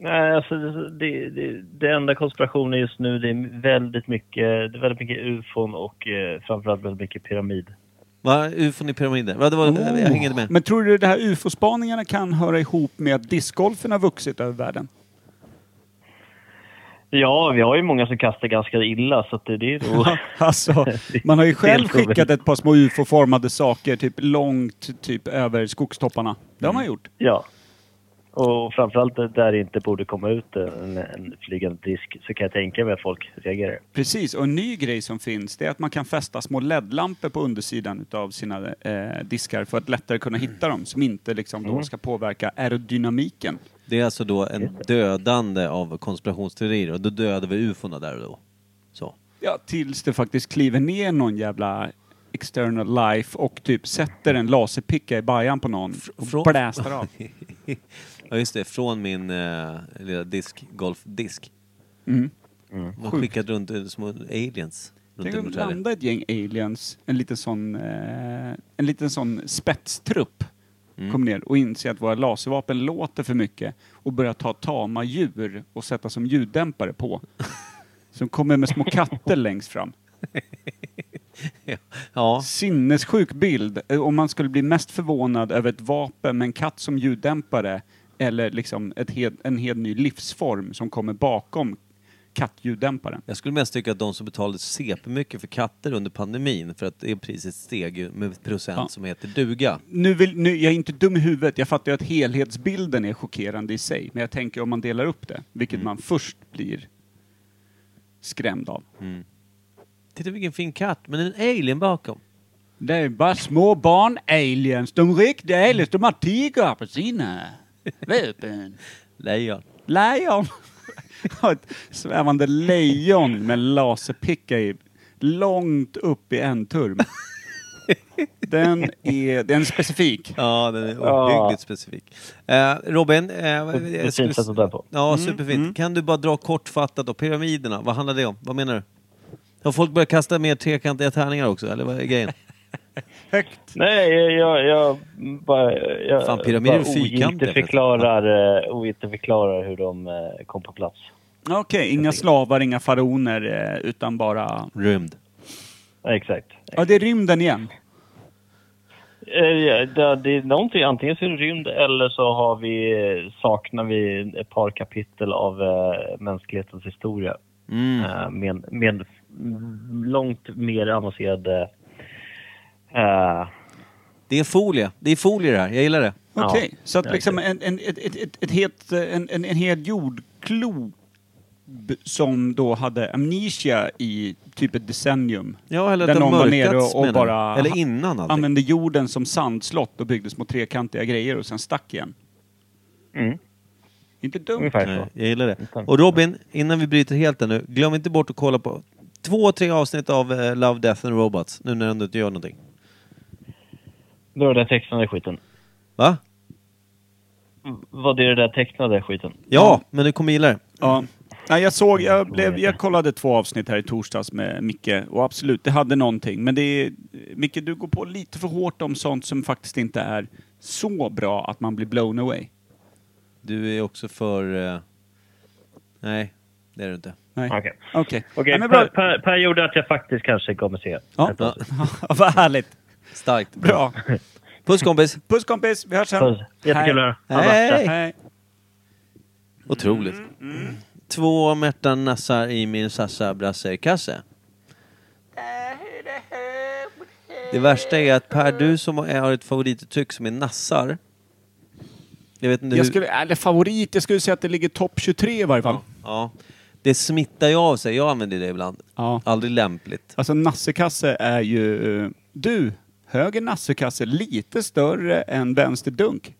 Speaker 10: Nej, alltså det, det, det, det enda konspirationen just nu det är väldigt mycket, det är väldigt mycket ufon och eh, framförallt väldigt mycket pyramid.
Speaker 3: Va? Ufon i pyramider? Va, det var, Jag hängde med.
Speaker 4: Oh. Men tror du det här ufo-spaningarna kan höra ihop med att discgolfen har vuxit över världen?
Speaker 10: Ja, vi har ju många som kastar ganska illa så att det, Oh. det är nog...
Speaker 4: Alltså, man har ju själv
Speaker 10: Helt orimligt.
Speaker 4: skickat ett par små ufo-formade saker typ långt typ över skogstopparna. Det har
Speaker 10: Mm.
Speaker 4: man gjort.
Speaker 10: ja. Och framförallt där det inte borde komma ut en, en flygande disk så kan jag tänka mig att folk reagerar.
Speaker 4: Precis, och en ny grej som finns det är att man kan fästa små LED-lampor på undersidan utav sina eh, diskar för att lättare kunna hitta dem som inte liksom
Speaker 10: Mm.
Speaker 4: då ska påverka aerodynamiken.
Speaker 3: Det är alltså då en dödande av konspirationsteorier och då dödar vi ufona där och då. Så.
Speaker 4: Ja, tills det faktiskt kliver ner någon jävla external life och typ sätter en laserpicka i bajan på någon och
Speaker 3: från-
Speaker 4: blästar av.
Speaker 3: Ja just det, från min eh, lilla disk, golfdisk.
Speaker 4: Mm.
Speaker 3: Man
Speaker 4: Sjukt.
Speaker 3: skickat runt eh, små aliens. Runt
Speaker 4: Tänk om
Speaker 3: runt
Speaker 4: det landar ett gäng aliens, en liten sån, eh, en liten sån spetstrupp,
Speaker 3: Mm.
Speaker 4: kommer ner och inser att våra laservapen låter för mycket och börjar ta tama djur och sätta som ljuddämpare på. Som kommer med små katter längst fram.
Speaker 3: ja,
Speaker 4: Sinnessjuk bild. Eh, Om man skulle bli mest förvånad över ett vapen med en katt som ljuddämpare eller liksom ett helt, en helt ny livsform som kommer bakom kattljuddämparen.
Speaker 3: jag skulle mest tycka att de som betalade CP-mycket för katter under pandemin för att det priset steg ju med procent
Speaker 4: Ja.
Speaker 3: som heter duga.
Speaker 4: nu vill, nu, jag är inte dum i huvudet, jag fattar ju att helhetsbilden är chockerande i sig. Men jag tänker om man delar upp det, vilket man först blir skrämd av.
Speaker 3: Titta vilken fin katt, men en alien bakom.
Speaker 4: Det är bara små barn aliens. De riktiga aliens, de har tigrar på sina vapen.
Speaker 3: Lejon.
Speaker 4: Lejon! Har Ett svävande lejon med laserpicka i. Långt upp i en turm. Den är, den är specifik.
Speaker 3: Ja, den är
Speaker 10: Ja.
Speaker 3: ohyggligt specifik. Eh, Robin, eh, jag
Speaker 10: Ett
Speaker 3: skulle-
Speaker 10: fint sätt att dö på.
Speaker 3: Ja,
Speaker 4: Mm,
Speaker 3: superfint. Kan du bara dra kortfattat då, pyramiderna, vad handlar det om? Vad menar du? Har folk börjat kasta mer trekantiga tärningar också, eller vad är grejen?
Speaker 4: Högt.
Speaker 10: Nej, jag, jag bara... Jag,
Speaker 3: Fan, pyramider är alltså.
Speaker 10: bara
Speaker 3: fyrkantiga.
Speaker 10: ogiltigförklarar, eh, ogiltigförklarar hur de eh, kom på plats.
Speaker 4: Okej, inga slavar, inga faraoner, eh, utan bara...
Speaker 3: Rymd.
Speaker 10: Exakt.
Speaker 4: Ja, det är rymden igen.
Speaker 10: Eh, ja, Det, det är någonting, antingen så är det rymd eller så har vi, eh, saknar vi ett par kapitel av eh, mänsklighetens historia. Eh, med, med mm, långt mer avancerade... Eh,
Speaker 3: Det är folie. Det är folie det här. Jag gillar det.
Speaker 10: Ja.
Speaker 4: Okej, så att
Speaker 10: Ja,
Speaker 4: liksom en, en, ett, ett, ett, ett het, en, en, en hel jordklob som då hade amnesia i typ ett decennium.
Speaker 3: Ja, eller
Speaker 4: Där
Speaker 3: att det
Speaker 4: någon
Speaker 3: har
Speaker 4: var nere
Speaker 3: mörkats
Speaker 4: och, och
Speaker 3: menar du?
Speaker 4: bara
Speaker 3: Eller innan allting.
Speaker 4: använde jorden som sandslott och byggde små trekantiga grejer och sen stack igen.
Speaker 10: Mm.
Speaker 4: Inte dumt.
Speaker 10: ungefär så.
Speaker 3: Nej, jag gillar det. Och Robin, innan vi bryter helt där nu, glöm inte bort att kolla på två, tre avsnitt av eh, Love, Death and Robots, nu när du ändå inte gör någonting.
Speaker 10: Då är det där tecknade skiten.
Speaker 3: Va?
Speaker 10: Vad är det där tecknade skiten?
Speaker 3: Ja, men du kommer gilla det.
Speaker 4: Ja. Nej, jag såg, jag, blev, jag kollade två avsnitt här i torsdags med Micke och absolut, det hade någonting. Men det är, Micke, du går på lite för hårt om sånt som faktiskt inte är så bra att man blir blown away.
Speaker 3: Du är också för... eh, Nej, det är du inte.
Speaker 4: Nej.
Speaker 10: Okej.
Speaker 4: Okej. Okej.
Speaker 10: Okej,
Speaker 4: Ja, men bra.
Speaker 10: per, per, per gjorde att jag faktiskt kanske kommer se.
Speaker 4: Ja.
Speaker 3: Ja,
Speaker 4: Vad härligt.
Speaker 3: starkt.
Speaker 4: Bra.
Speaker 3: Puss kompis!
Speaker 4: Puss kompis, vi hörs sen.
Speaker 10: Puss. Jättekul att höra. Ha det bra.
Speaker 3: Hej.
Speaker 4: Hej.
Speaker 3: Otroligt. Två Märta Nassar i min Sassa Brasse-kasse. Det värsta är att Per, du som är- har ett favorituttryck som är nassar. Jag vet inte
Speaker 4: Jag
Speaker 3: hur...
Speaker 4: skulle, eller favorit, jag skulle säga att det ligger topp 23 i varje fall.
Speaker 3: Ja. Det smittar ju av sig. Jag använder det ibland.
Speaker 4: Ja.
Speaker 3: Aldrig lämpligt.
Speaker 4: Alltså nassekasse är ju... eh, Du, höger nassekasse, lite större än vänster dunk.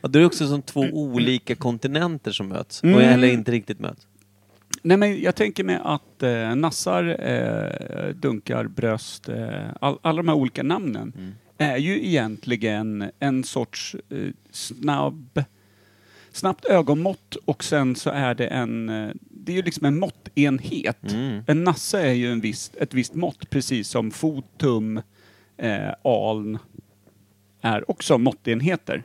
Speaker 3: Och det är också som två olika kontinenter som möts. Och
Speaker 4: Mm.
Speaker 3: eller inte riktigt möts.
Speaker 4: Nej men jag tänker mig att eh, nassar, eh, dunkar, bröst, eh, all, alla de här olika namnen är ju egentligen en sorts eh, snabb, snabbt ögonmått och sen så är det en, eh, det är ju liksom en måttenhet. En nasse är ju en viss, ett visst mått precis som fot, tum, eh, aln är också måttenheter.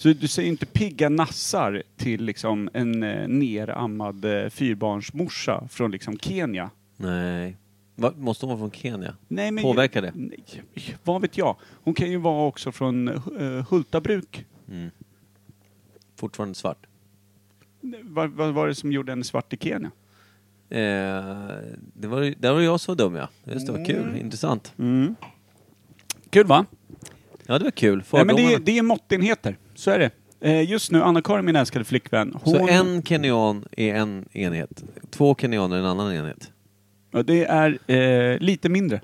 Speaker 4: Så du säger inte pigga nassar till liksom en eh, nerammad eh, fyrbarnsmorsa från liksom Kenya.
Speaker 3: Nej. Va, måste de vara från Kenya?
Speaker 4: Nej, men
Speaker 3: Påverkar det?
Speaker 4: Nej, vad vet jag. Hon kan ju vara också från eh, Hultabruk.
Speaker 3: Fortfarande svart.
Speaker 4: Vad vad var det som gjorde henne svart i Kenya?
Speaker 3: Eh, det var, ju- där var jag så dum ja. Just det, var
Speaker 4: Mm.
Speaker 3: kul. Intressant.
Speaker 4: Kul va?
Speaker 3: Ja, det var kul.
Speaker 4: Nej, men
Speaker 3: Fördomarna.
Speaker 4: det, är- det är måttenheter, så är det. Eh, just nu, Anna-Karin, min älskade flickvän, hon...
Speaker 3: Så en kenyan är en enhet. Två kenyaner är en annan enhet.
Speaker 4: Ja, Det är eh, lite mindre.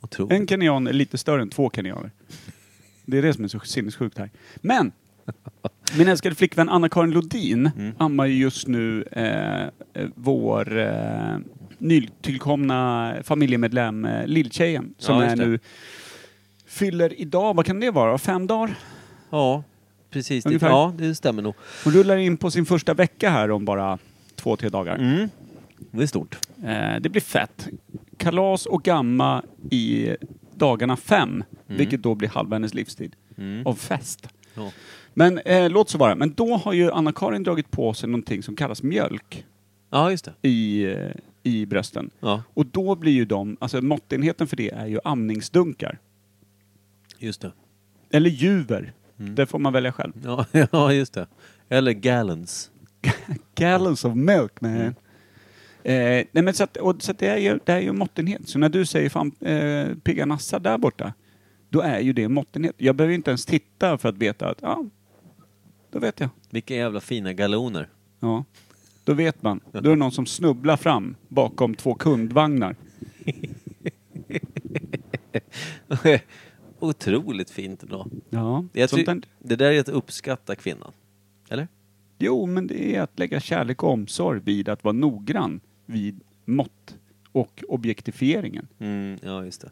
Speaker 3: Otroligt.
Speaker 4: En kenyan är lite större än två kenyaner. Det är det som är så sinnessjukt här. Men! Min älskade flickvän Anna-Karin Lodin
Speaker 3: Mm.
Speaker 4: ammar ju just nu eh, eh, vår eh, nytillkomna familjemedlem eh, Lilltjejen som
Speaker 3: Ja, just
Speaker 4: är
Speaker 3: det.
Speaker 4: nu fyller idag, vad kan det vara, fem dagar?
Speaker 3: Ja, precis. Det,
Speaker 4: Ungefär.
Speaker 3: ja, det stämmer nog.
Speaker 4: Hon rullar in på sin första vecka här om bara två, tre dagar.
Speaker 3: Mm. Det är stort.
Speaker 4: Eh, det blir fett. Kalas och gamma i dagarna fem, vilket då blir halva hennes livstid av fest.
Speaker 3: Ja.
Speaker 4: Men eh, låt så vara. Men då har ju Anna-Karin dragit på sig någonting som kallas mjölk
Speaker 3: Ja, just det.
Speaker 4: i, eh, i brösten.
Speaker 3: Ja,
Speaker 4: Och då blir ju de, alltså måttenheten för det är ju amningsdunkar.
Speaker 3: just det.
Speaker 4: Eller juver. Det får man välja själv.
Speaker 3: Ja, ja just det. Eller gallons.
Speaker 4: Gallons of milk man. Eh, nej men så att, och, så att det, är ju, det är ju måttenhet. Så när du säger fan eh, pigga nassar där borta, då är ju det måttenhet. Jag behöver inte ens titta för att veta att, ja, då vet jag.
Speaker 3: Vilka jävla fina galloner.
Speaker 4: Ja, då vet man. Då är det någon som snubblar fram bakom två kundvagnar.
Speaker 3: Otroligt fint ändå.
Speaker 4: Ja,
Speaker 3: Jag
Speaker 4: sånt
Speaker 3: ty-
Speaker 4: där.
Speaker 3: det där är att uppskatta kvinnan. Eller?
Speaker 4: Jo, men det är att lägga kärlek och omsorg vid att vara noggrann vid mått och objektifieringen.
Speaker 3: Mm, ja, just det.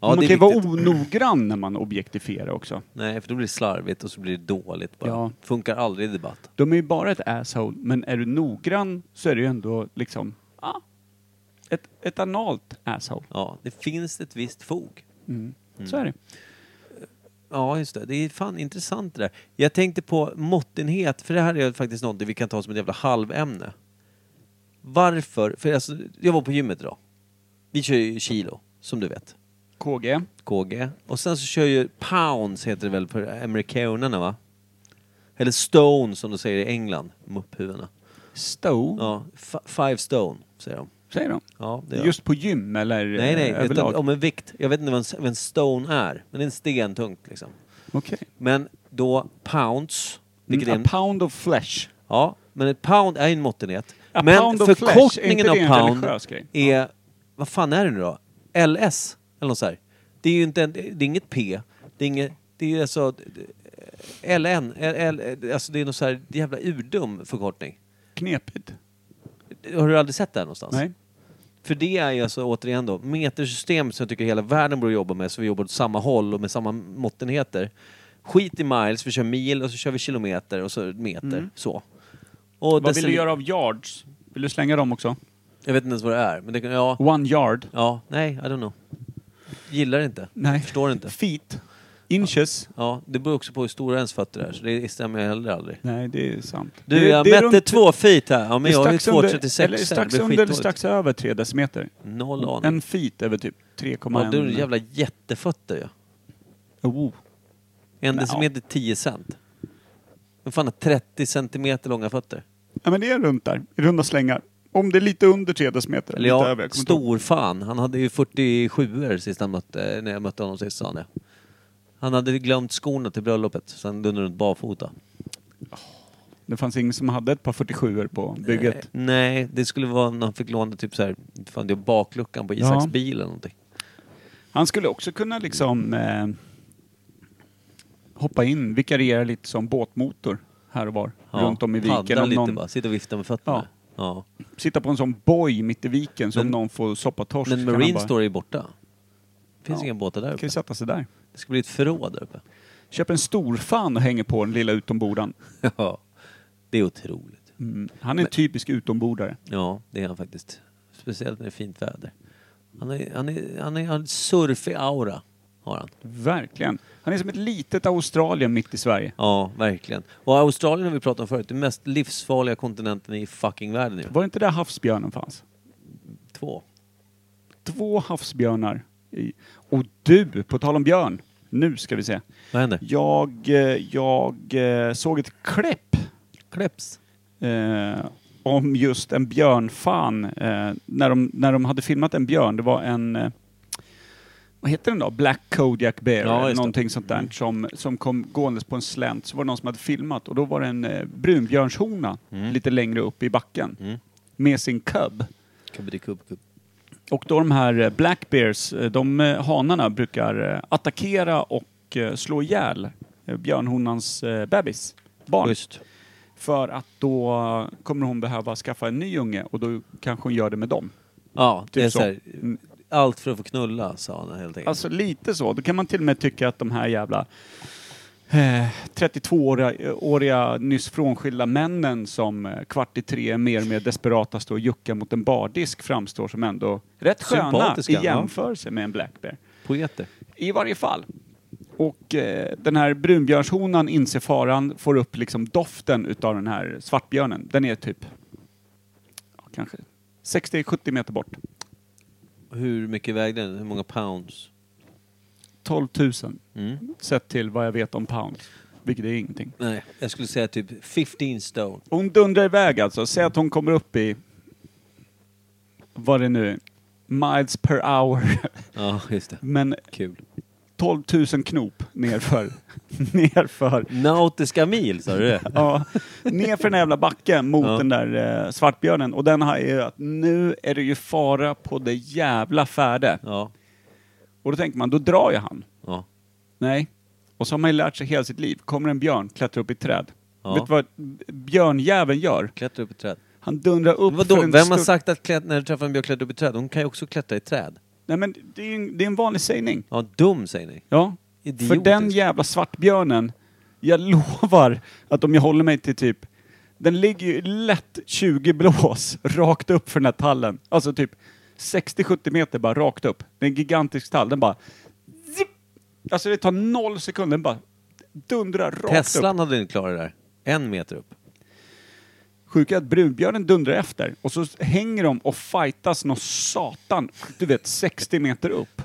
Speaker 3: Ja,
Speaker 4: man
Speaker 3: det
Speaker 4: kan
Speaker 3: är
Speaker 4: ju vara
Speaker 3: viktigt.
Speaker 4: onoggrann när man objektifierar också.
Speaker 3: Nej, för då blir det slarvigt och så blir det dåligt bara.
Speaker 4: Ja.
Speaker 3: Funkar aldrig i debatt.
Speaker 4: De är ju bara ett asshole, men är du noggrann så är det ju ändå liksom... Ah, ett, ett analt asshole.
Speaker 3: Ja, det finns ett visst fog.
Speaker 4: Mm. Så är det.
Speaker 3: Ja, just det. Det är fan intressant det där. Jag tänkte på måttenhet, för det här är faktiskt något vi kan ta som ett jävla halvämne. Varför? För alltså, jag var på gymmet idag. Vi kör ju kilo, som du vet.
Speaker 4: KG.
Speaker 3: KG. Och sen så kör ju pounds, heter det väl för amerikanerna va? Eller stone som de säger i England, mupphuvudena.
Speaker 4: Stow.
Speaker 3: Ja, f- five stone, säger de.
Speaker 4: Säger de.
Speaker 3: Ja, det gör de.
Speaker 4: Just på gym eller
Speaker 3: Nej, nej.
Speaker 4: eh,
Speaker 3: Utan
Speaker 4: överlag?
Speaker 3: om en vikt. Jag vet inte vad en, s- vad en stone är, men det är en sten tungt liksom.
Speaker 4: Okej.
Speaker 3: Men då pounds, vilket är
Speaker 4: Mm,
Speaker 3: en...
Speaker 4: a pound of flesh.
Speaker 3: Ja, men ett pound är en måttenhet.
Speaker 4: A
Speaker 3: Men
Speaker 4: pound of flesh,
Speaker 3: förkortningen
Speaker 4: är
Speaker 3: av
Speaker 4: inte det en
Speaker 3: pound
Speaker 4: religiös grej?
Speaker 3: är... Vad fan är det nu då? LS? Eller något så här. Det är ju inte en, det är inget P. Det är inget... Det är alltså... eh, LN. L, L, alltså det är någon så här jävla urdum förkortning.
Speaker 4: Knepigt.
Speaker 3: Alltså, Har du aldrig sett det här någonstans?
Speaker 4: Nej.
Speaker 3: För det är ju alltså återigen då metersystem som jag tycker hela världen borde jobba med så vi jobbar åt samma håll och med samma måttenheter. Skit i miles, vi kör mil och så kör vi kilometer och så meter. Så. Och
Speaker 4: Mm. Vad vill du
Speaker 3: decil-
Speaker 4: göra av yards? Vill du slänga dem också?
Speaker 3: Jag vet inte ens vad det är. Men det, kan- ja,
Speaker 4: One yard?
Speaker 3: ja, nej, I don't know. Gillar inte.
Speaker 4: Nej.
Speaker 3: Förstår inte.
Speaker 4: Feet? Inches?
Speaker 3: Ja, det beror också på hur stora ens fötter är så det stämmer heller aldrig.
Speaker 4: Nej, det är sant.
Speaker 3: Du,
Speaker 4: det,
Speaker 3: jag
Speaker 4: det är
Speaker 3: mätte
Speaker 4: runt-
Speaker 3: två feet här. Ja,
Speaker 4: det
Speaker 3: men
Speaker 4: är
Speaker 3: jag har ju
Speaker 4: strax under-
Speaker 3: 2,36
Speaker 4: Eller
Speaker 3: så här,
Speaker 4: strax
Speaker 3: det blir
Speaker 4: under eller
Speaker 3: skitdåligt.
Speaker 4: strax över tre decimeter.
Speaker 3: Noll aning.
Speaker 4: En feet är väl typ
Speaker 3: Ja,
Speaker 4: 3,1...
Speaker 3: du har jävla jättefötter ju.
Speaker 4: oh.
Speaker 3: En
Speaker 4: Nej.
Speaker 3: decimeter 10 cent. Men fan har 30 centimeter långa fötter?
Speaker 4: Ja, men det är runt där. I runda slängar. Om det är lite under tre decimeter.
Speaker 3: Eller
Speaker 4: lite
Speaker 3: ja,
Speaker 4: över, jag kommer inte ihåg.
Speaker 3: stor fan. Han hade ju 47 er sist han mötte, när jag mötte honom sist sa han det. Han hade glömt skorna till bröllopet, så han dundrade runt barfota.
Speaker 4: Det fanns ingen som hade ett par 47 på bygget.
Speaker 3: Eh, nej, det skulle vara när han fick låna typ så här, fan det är bakluckan på Isaks
Speaker 4: Ja.
Speaker 3: bil eller någonting.
Speaker 4: Han skulle också kunna liksom eh, hoppa in, vikariera lite som båtmotor här och var.
Speaker 3: Ja,
Speaker 4: Runt om i viken.
Speaker 3: paddla
Speaker 4: Om
Speaker 3: lite
Speaker 4: någon,
Speaker 3: bara, sitta och vifta med fötterna. Ja.
Speaker 4: sitta på en sån boj mitt i viken som
Speaker 3: Men-
Speaker 4: någon får soppa torsk.
Speaker 3: Men
Speaker 4: kan han
Speaker 3: Marine
Speaker 4: bara-
Speaker 3: Store är ju borta. Finns
Speaker 4: Ja.
Speaker 3: inga båtar där uppe.
Speaker 4: kan ju sätta sig där.
Speaker 3: Det ska bli ett förråd där uppe.
Speaker 4: Köp en stor fan och hänger på den lilla utombordan.
Speaker 3: ja. Det är otroligt.
Speaker 4: Mm. Han är en typisk utombordare.
Speaker 3: Ja, det är han faktiskt. Speciellt när det är fint väder. Han är, han är, han är, han är surfig aura, har han.
Speaker 4: Verkligen. Han är som ett litet Australien mitt i Sverige.
Speaker 3: Ja, verkligen. Och Australien har vi pratat om förut, den mest livsfarliga kontinenten i fucking världen nu.
Speaker 4: Var det inte där havsbjörnen fanns?
Speaker 3: Två.
Speaker 4: Två havsbjörnar. I. Och du, på tal om björn. Nu ska vi se.
Speaker 3: Vad händer?
Speaker 4: Jag, eh, jag eh, såg ett klipp
Speaker 3: Kläpps.
Speaker 4: eh, om just en björnfan. Eh, när, de, när de hade filmat en björn, det var en... Eh, vad heter den då? Black Kodiak Bear,
Speaker 3: Ja, just
Speaker 4: eller
Speaker 3: det. Mm.
Speaker 4: någonting sånt där, som, som kom gåendes på en slänt. Så var det någon som hade filmat och då var det en eh, brunbjörnshona
Speaker 3: Mm.
Speaker 4: lite längre upp i backen med sin cub.
Speaker 3: Kubbidi-kubb-kubb.
Speaker 4: Och då de här eh, Black Bears, eh, de eh, hanarna brukar eh, attackera och eh, slå ihjäl eh, björnhonans eh, bebis, barn.
Speaker 3: Schysst.
Speaker 4: För att då kommer hon behöva skaffa en ny unge och då kanske hon gör det med dem.
Speaker 3: Ja, det
Speaker 4: Typ
Speaker 3: är så här,
Speaker 4: så. Mm.
Speaker 3: allt för att få knulla, sa han helt enkelt.
Speaker 4: Alltså lite så. Då kan man till och med tycka att de här jävla eh, 32-åriga åriga, nyss frånskilda männen som eh, kvart i tre mer och mer desperata står och juckar mot en bardisk framstår som ändå rätt sköna i
Speaker 3: Sympatiska, ja.
Speaker 4: jämförelse med en Black Bear.
Speaker 3: Poeter.
Speaker 4: I varje fall. Och eh, den här brunbjörnshonan inser faran, får upp liksom doften utav den här svartbjörnen. Den är typ, ja, kanske 60-70 meter bort.
Speaker 3: Hur mycket vägde den? Hur många pounds?
Speaker 4: 12 000.
Speaker 3: Mm.
Speaker 4: Sett till vad jag vet om pounds. Vilket är ingenting.
Speaker 3: Nej, jag skulle säga typ 15 stone.
Speaker 4: Hon dundrar iväg alltså. Säg att hon kommer upp i, vad det nu är, miles per hour.
Speaker 3: Ja, just det.
Speaker 4: Men
Speaker 3: Kul.
Speaker 4: 12 000 knop nerför, nerför
Speaker 3: Nautiska mil, sa du det?
Speaker 4: Ja, ner för den jävla backen mot
Speaker 3: Ja.
Speaker 4: den där eh, svartbjörnen. Och den har ju att nu är det ju fara på det jävla färde.
Speaker 3: Ja.
Speaker 4: Och då tänker man, då drar ju han.
Speaker 3: ja.
Speaker 4: Nej. Och så har man ju lärt sig hela sitt liv. Kommer en björn, klättrar upp i ett träd.
Speaker 3: Ja.
Speaker 4: Vet du vad björnjäveln gör?
Speaker 3: Klättra upp i träd.
Speaker 4: Han dundrar upp
Speaker 3: Men vadå,
Speaker 4: för en
Speaker 3: vem har
Speaker 4: stor-
Speaker 3: sagt att klätt, när du träffar en björk klättra upp i träd? Hon kan ju också klättra i träd.
Speaker 4: Nej men det är, ju en, det är en vanlig sägning.
Speaker 3: Ja, dum säger ni.
Speaker 4: Ja.
Speaker 3: Idiotiskt.
Speaker 4: För den jävla svartbjörnen, jag lovar att om jag håller mig till typ, den ligger ju lätt 20 blås rakt upp för den här tallen. Alltså typ 60-70 meter bara rakt upp. Det är en gigantisk tall. Den bara... Zip! Alltså det tar noll sekunder. Den bara dundrar rakt upp.
Speaker 3: Teslan hade inte klarat det där. En meter upp.
Speaker 4: Sjuka är att brunbjörnen dundrar efter och så hänger de och fightas någon satan, du vet 60 meter upp.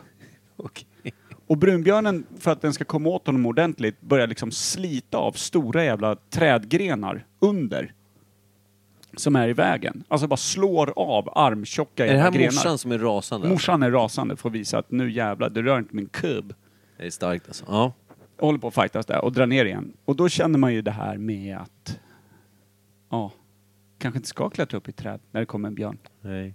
Speaker 4: Och brunbjörnen, för att den ska komma åt honom ordentligt, börjar liksom slita av stora jävla trädgrenar under. Som är i vägen. Alltså bara slår av armtjocka
Speaker 3: Är det
Speaker 4: jävla
Speaker 3: här
Speaker 4: grenar.
Speaker 3: morsan som är rasande?
Speaker 4: Morsan är rasande för att visa att nu jävlar, du rör inte min kubb.
Speaker 3: Det är starkt alltså. Ja.
Speaker 4: Jag håller på att fightas där och drar ner igen. Och då känner man ju det här med att, ja, kanske inte ska klättra upp i träd när det kommer en björn.
Speaker 3: Nej.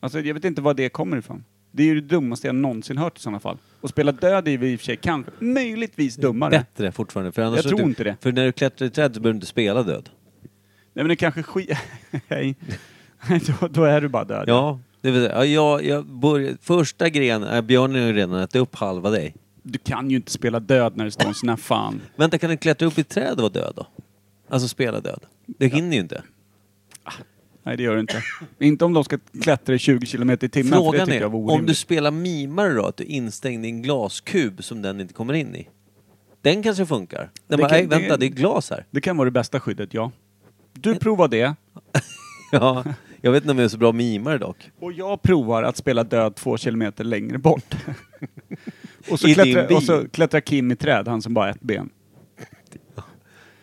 Speaker 4: Alltså jag vet inte var det kommer ifrån. Det är ju det dummaste jag någonsin hört i sådana fall. Och spela död är ju i och för sig kanske, möjligtvis dummare.
Speaker 3: Bättre fortfarande. För annars
Speaker 4: Jag
Speaker 3: så
Speaker 4: tror
Speaker 3: du,
Speaker 4: inte det.
Speaker 3: För när du klättrar i träd så behöver du inte spela död.
Speaker 4: Nej men det kanske skit... Nej. då, då är du bara död.
Speaker 3: Ja. Det vill säga, ja, jag, jag börjar, första grenen, äh, björnen har ju redan ätit upp halva dig.
Speaker 4: Du kan ju inte spela död när det står en sån här fan.
Speaker 3: Vänta, kan den klättra upp i ett träd och vara död då? Alltså spela död. Det hinner ju inte.
Speaker 4: Nej det gör du inte. inte om de ska klättra i 20 kilometer i timmen. för det
Speaker 3: Frågan
Speaker 4: tycker
Speaker 3: är,
Speaker 4: jag var
Speaker 3: om du
Speaker 4: orimligt.
Speaker 3: spelar mimare då, att du är instängd i en glaskub som den inte kommer in i. Den kanske funkar. Den
Speaker 4: Det
Speaker 3: bara,
Speaker 4: kan-
Speaker 3: "Ej, vänta,
Speaker 4: det-
Speaker 3: det är glas här.
Speaker 4: Det kan vara det bästa skyddet, ja.
Speaker 3: Eh.
Speaker 4: Du provar det.
Speaker 3: Ja, jag vet inte om jag är så bra mimare dock.
Speaker 4: Och jag provar att spela död två kilometer längre bort. och, så
Speaker 3: I din
Speaker 4: klättrar,
Speaker 3: bil.
Speaker 4: och så klättrar Kim i träd, han som bara har ett ben.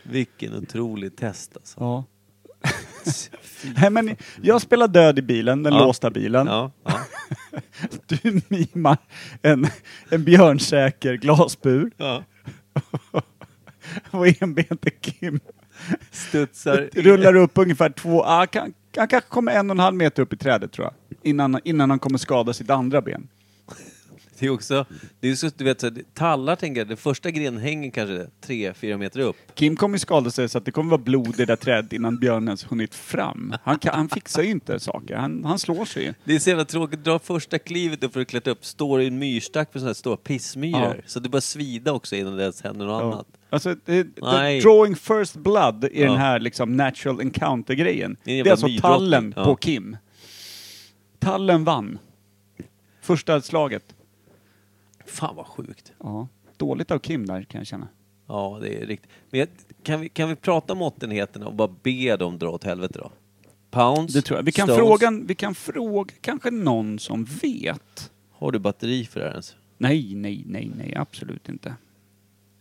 Speaker 3: Vilken otrolig test alltså.
Speaker 4: Ja. Nej, men jag spelar död i bilen, den
Speaker 3: Ja.
Speaker 4: låsta bilen.
Speaker 3: Ja, ja.
Speaker 4: Du mimar en, en björnsäker glasbur.
Speaker 3: ja.
Speaker 4: Och enbente Kim
Speaker 3: Studsar.
Speaker 4: rullar upp ungefär två, ah, kan, han kanske kommer en och en halv meter upp i trädet tror jag. Innan, innan han kommer skada sitt andra ben.
Speaker 3: Det är också, det är så, du vet, så här, tallar tänker jag, det första grenen hänger kanske tre, fyra meter upp.
Speaker 4: Kim kommer ju skada sig så att det kommer vara blod i det där trädet innan björnen ens hunnit fram. Han, kan, han fixar ju inte saker, han, han slår sig ju.
Speaker 3: Det är så jävla tråkigt, dra första klivet upp för att klättra upp, står i en myrstack på sådana här stora pissmyror.
Speaker 4: Ja.
Speaker 3: Så det börjar svida också innan det ens händer något
Speaker 4: Ja.
Speaker 3: annat.
Speaker 4: Alltså, det, det,
Speaker 3: Nej.
Speaker 4: drawing first blood i
Speaker 3: Ja.
Speaker 4: den här liksom natural encounter-grejen.
Speaker 3: Det
Speaker 4: Det
Speaker 3: är en
Speaker 4: är,
Speaker 3: jävla
Speaker 4: alltså
Speaker 3: nydrottning.
Speaker 4: tallen
Speaker 3: Ja.
Speaker 4: på Kim. Tallen vann. Första slaget.
Speaker 3: Fan vad sjukt.
Speaker 4: Ja. Dåligt av Kim där kan jag känna.
Speaker 3: Ja, det är riktigt. Men jag, kan, vi, kan vi prata om måttenheterna och bara be dem dra åt helvete då? Pounds?
Speaker 4: Det tror jag. Vi kan,
Speaker 3: stones.
Speaker 4: fråga, vi kan fråga kanske någon som vet.
Speaker 3: Har du batteri för det här ens?
Speaker 4: Nej, nej, nej, nej, absolut inte.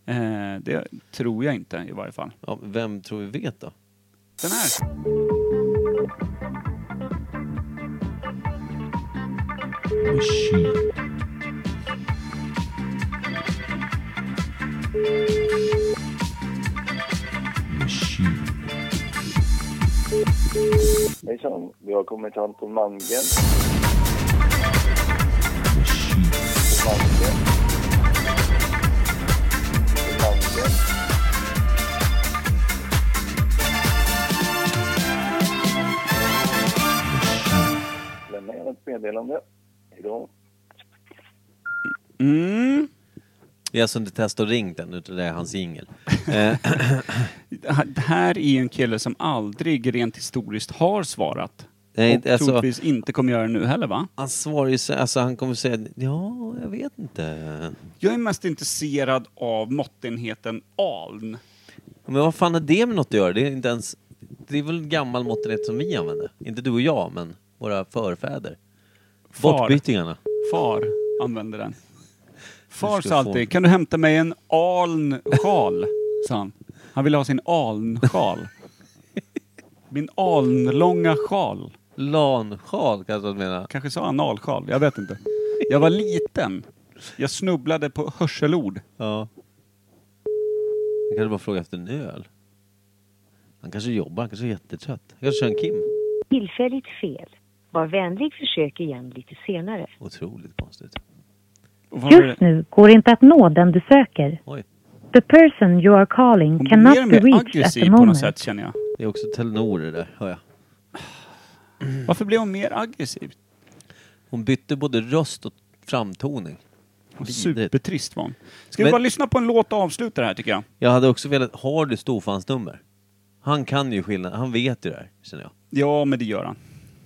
Speaker 4: Eh, det tror jag inte i varje fall.
Speaker 3: Ja, men vem tror vi vet då?
Speaker 4: Den här.
Speaker 11: Hejsan, vi har kommit till Anton Malmgren. Malmgren. Malmgren. Lämna gärna ett meddelande. Hejdå.
Speaker 4: Mm.
Speaker 3: Vi har alltså inte testat och ringt än, utan det är hans jingel. Eh,
Speaker 4: Det här är ju en kille som aldrig rent historiskt har svarat.
Speaker 3: Nej,
Speaker 4: och
Speaker 3: alltså-
Speaker 4: troligtvis inte kommer göra det nu heller va?
Speaker 3: han svarar ju så, alltså han kommer säga, ja, jag vet inte.
Speaker 4: Jag är mest intresserad av måttenheten aln.
Speaker 3: Men vad fan har det med något att göra? Det är inte ens, det är väl en gammal måttenhet som vi använder? Inte du och jag, men våra förfäder.
Speaker 4: Far.
Speaker 3: Bortbytingarna.
Speaker 4: Far använder den. Far
Speaker 3: ska
Speaker 4: sa
Speaker 3: få en-
Speaker 4: alltid, kan du hämta mig en alnsjal? sa han. Han ville ha sin alnsjal. Min alnlånga sjal.
Speaker 3: Lansjal kanske han menar.
Speaker 4: Kanske sa han alsjal, jag vet inte. Jag var liten. Jag snubblade på hörselord.
Speaker 3: Ja. Han kanske bara frågar efter en öl. Han kanske jobbar, han kanske är jättetrött. Han kanske kör en Kim.
Speaker 12: Tillfälligt fel. Var vänlig försök igen lite senare.
Speaker 3: Otroligt konstigt.
Speaker 13: Just nu går det inte att nå den du söker.
Speaker 3: Oj.
Speaker 13: The person you are calling
Speaker 4: Hon blir mer
Speaker 13: cannot
Speaker 4: och
Speaker 13: be
Speaker 4: mer
Speaker 13: reached at the
Speaker 4: aggressiv på något
Speaker 13: moment.
Speaker 4: sätt känner jag.
Speaker 3: Det är också Telenor det där, hör jag.
Speaker 4: Varför blev hon mer aggressiv?
Speaker 3: Hon bytte både röst och framtoning. Vidrigt.
Speaker 4: Supertrist var hon. Ska vi
Speaker 3: Men-
Speaker 4: bara lyssna på en låt och avsluta det här tycker jag?
Speaker 3: Jag hade också velat, har du Stofans nummer? Han kan ju skillnaden, han vet ju det här, känner jag.
Speaker 4: Ja, men det gör han.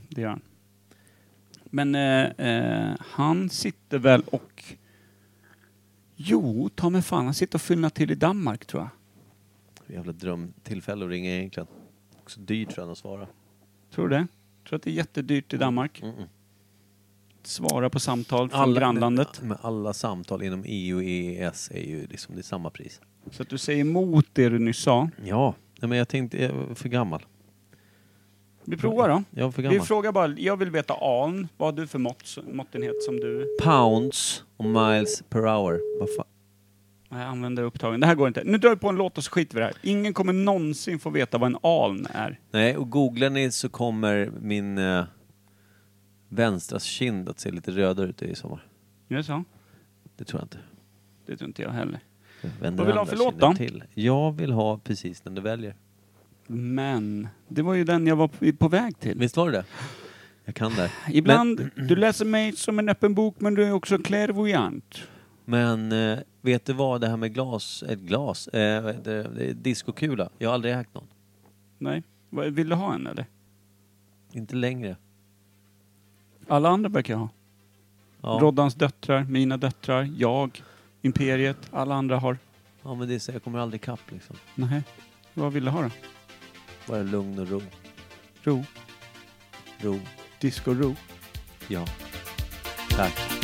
Speaker 4: Det gör han. Men eh, eh, han sitter väl och... Jo, ta mig fan, han sitter och fyllnar till i Danmark tror jag.
Speaker 3: Jävla drömtillfälle att ringa egentligen. Också dyrt för henne att svara.
Speaker 4: Tror du det? Tror att det är jättedyrt
Speaker 3: Mm.
Speaker 4: i Danmark? Svara på samtal från
Speaker 3: Alla-
Speaker 4: grannlandet.
Speaker 3: Men alla samtal inom EU och EES är ju liksom det är samma pris.
Speaker 4: Så att du säger emot det du nyss sa.
Speaker 3: Ja, nej, men jag tänkte, jag var för gammal.
Speaker 4: Vi provar då.
Speaker 3: Jag var för
Speaker 4: Vi
Speaker 3: gammal.
Speaker 4: frågar bara, jag vill veta an, vad har du för mått, måttenhet som du...
Speaker 3: Pounds och miles per hour. Vad fan?
Speaker 4: Nej, jag eh, använder upptagen. Det här går inte. Nu drar vi på en låt och så skiter vi i det här. Ingen kommer någonsin få veta vad en aln är.
Speaker 3: Nej, och googlar ni så kommer min eh, vänstra kind att se lite rödare ut i sommar.
Speaker 4: Är det så?
Speaker 3: Det tror jag inte.
Speaker 4: Det tror inte jag heller.
Speaker 3: Jag vänder
Speaker 4: Vad vill du ha
Speaker 3: andra
Speaker 4: för låt
Speaker 3: kinden
Speaker 4: då?
Speaker 3: Till. Jag vill ha precis den du väljer.
Speaker 4: Men, det var ju den jag var på, på väg till.
Speaker 3: Visst var det det? Jag kan det.
Speaker 4: Ibland, du läser mig som en öppen bok men du är också clairvoyant.
Speaker 3: Men, men eh, vet du vad, det här med glas, ett glas, eh, vad heter det, det är diskokula. Jag har aldrig ägt någon.
Speaker 4: Nej. Vad- Vill du ha en eller?
Speaker 3: Inte längre.
Speaker 4: Alla andra verkar ha.
Speaker 3: Ja.
Speaker 4: Roddans döttrar, mina döttrar, jag, Imperiet, alla andra har.
Speaker 3: Ja men det är så, jag kommer aldrig kapp liksom.
Speaker 4: Nej. Vad vill du ha då?
Speaker 3: Bara lugn och ro.
Speaker 4: Ro.
Speaker 3: Ro.
Speaker 4: Disco-ro.
Speaker 3: Ja. Tack.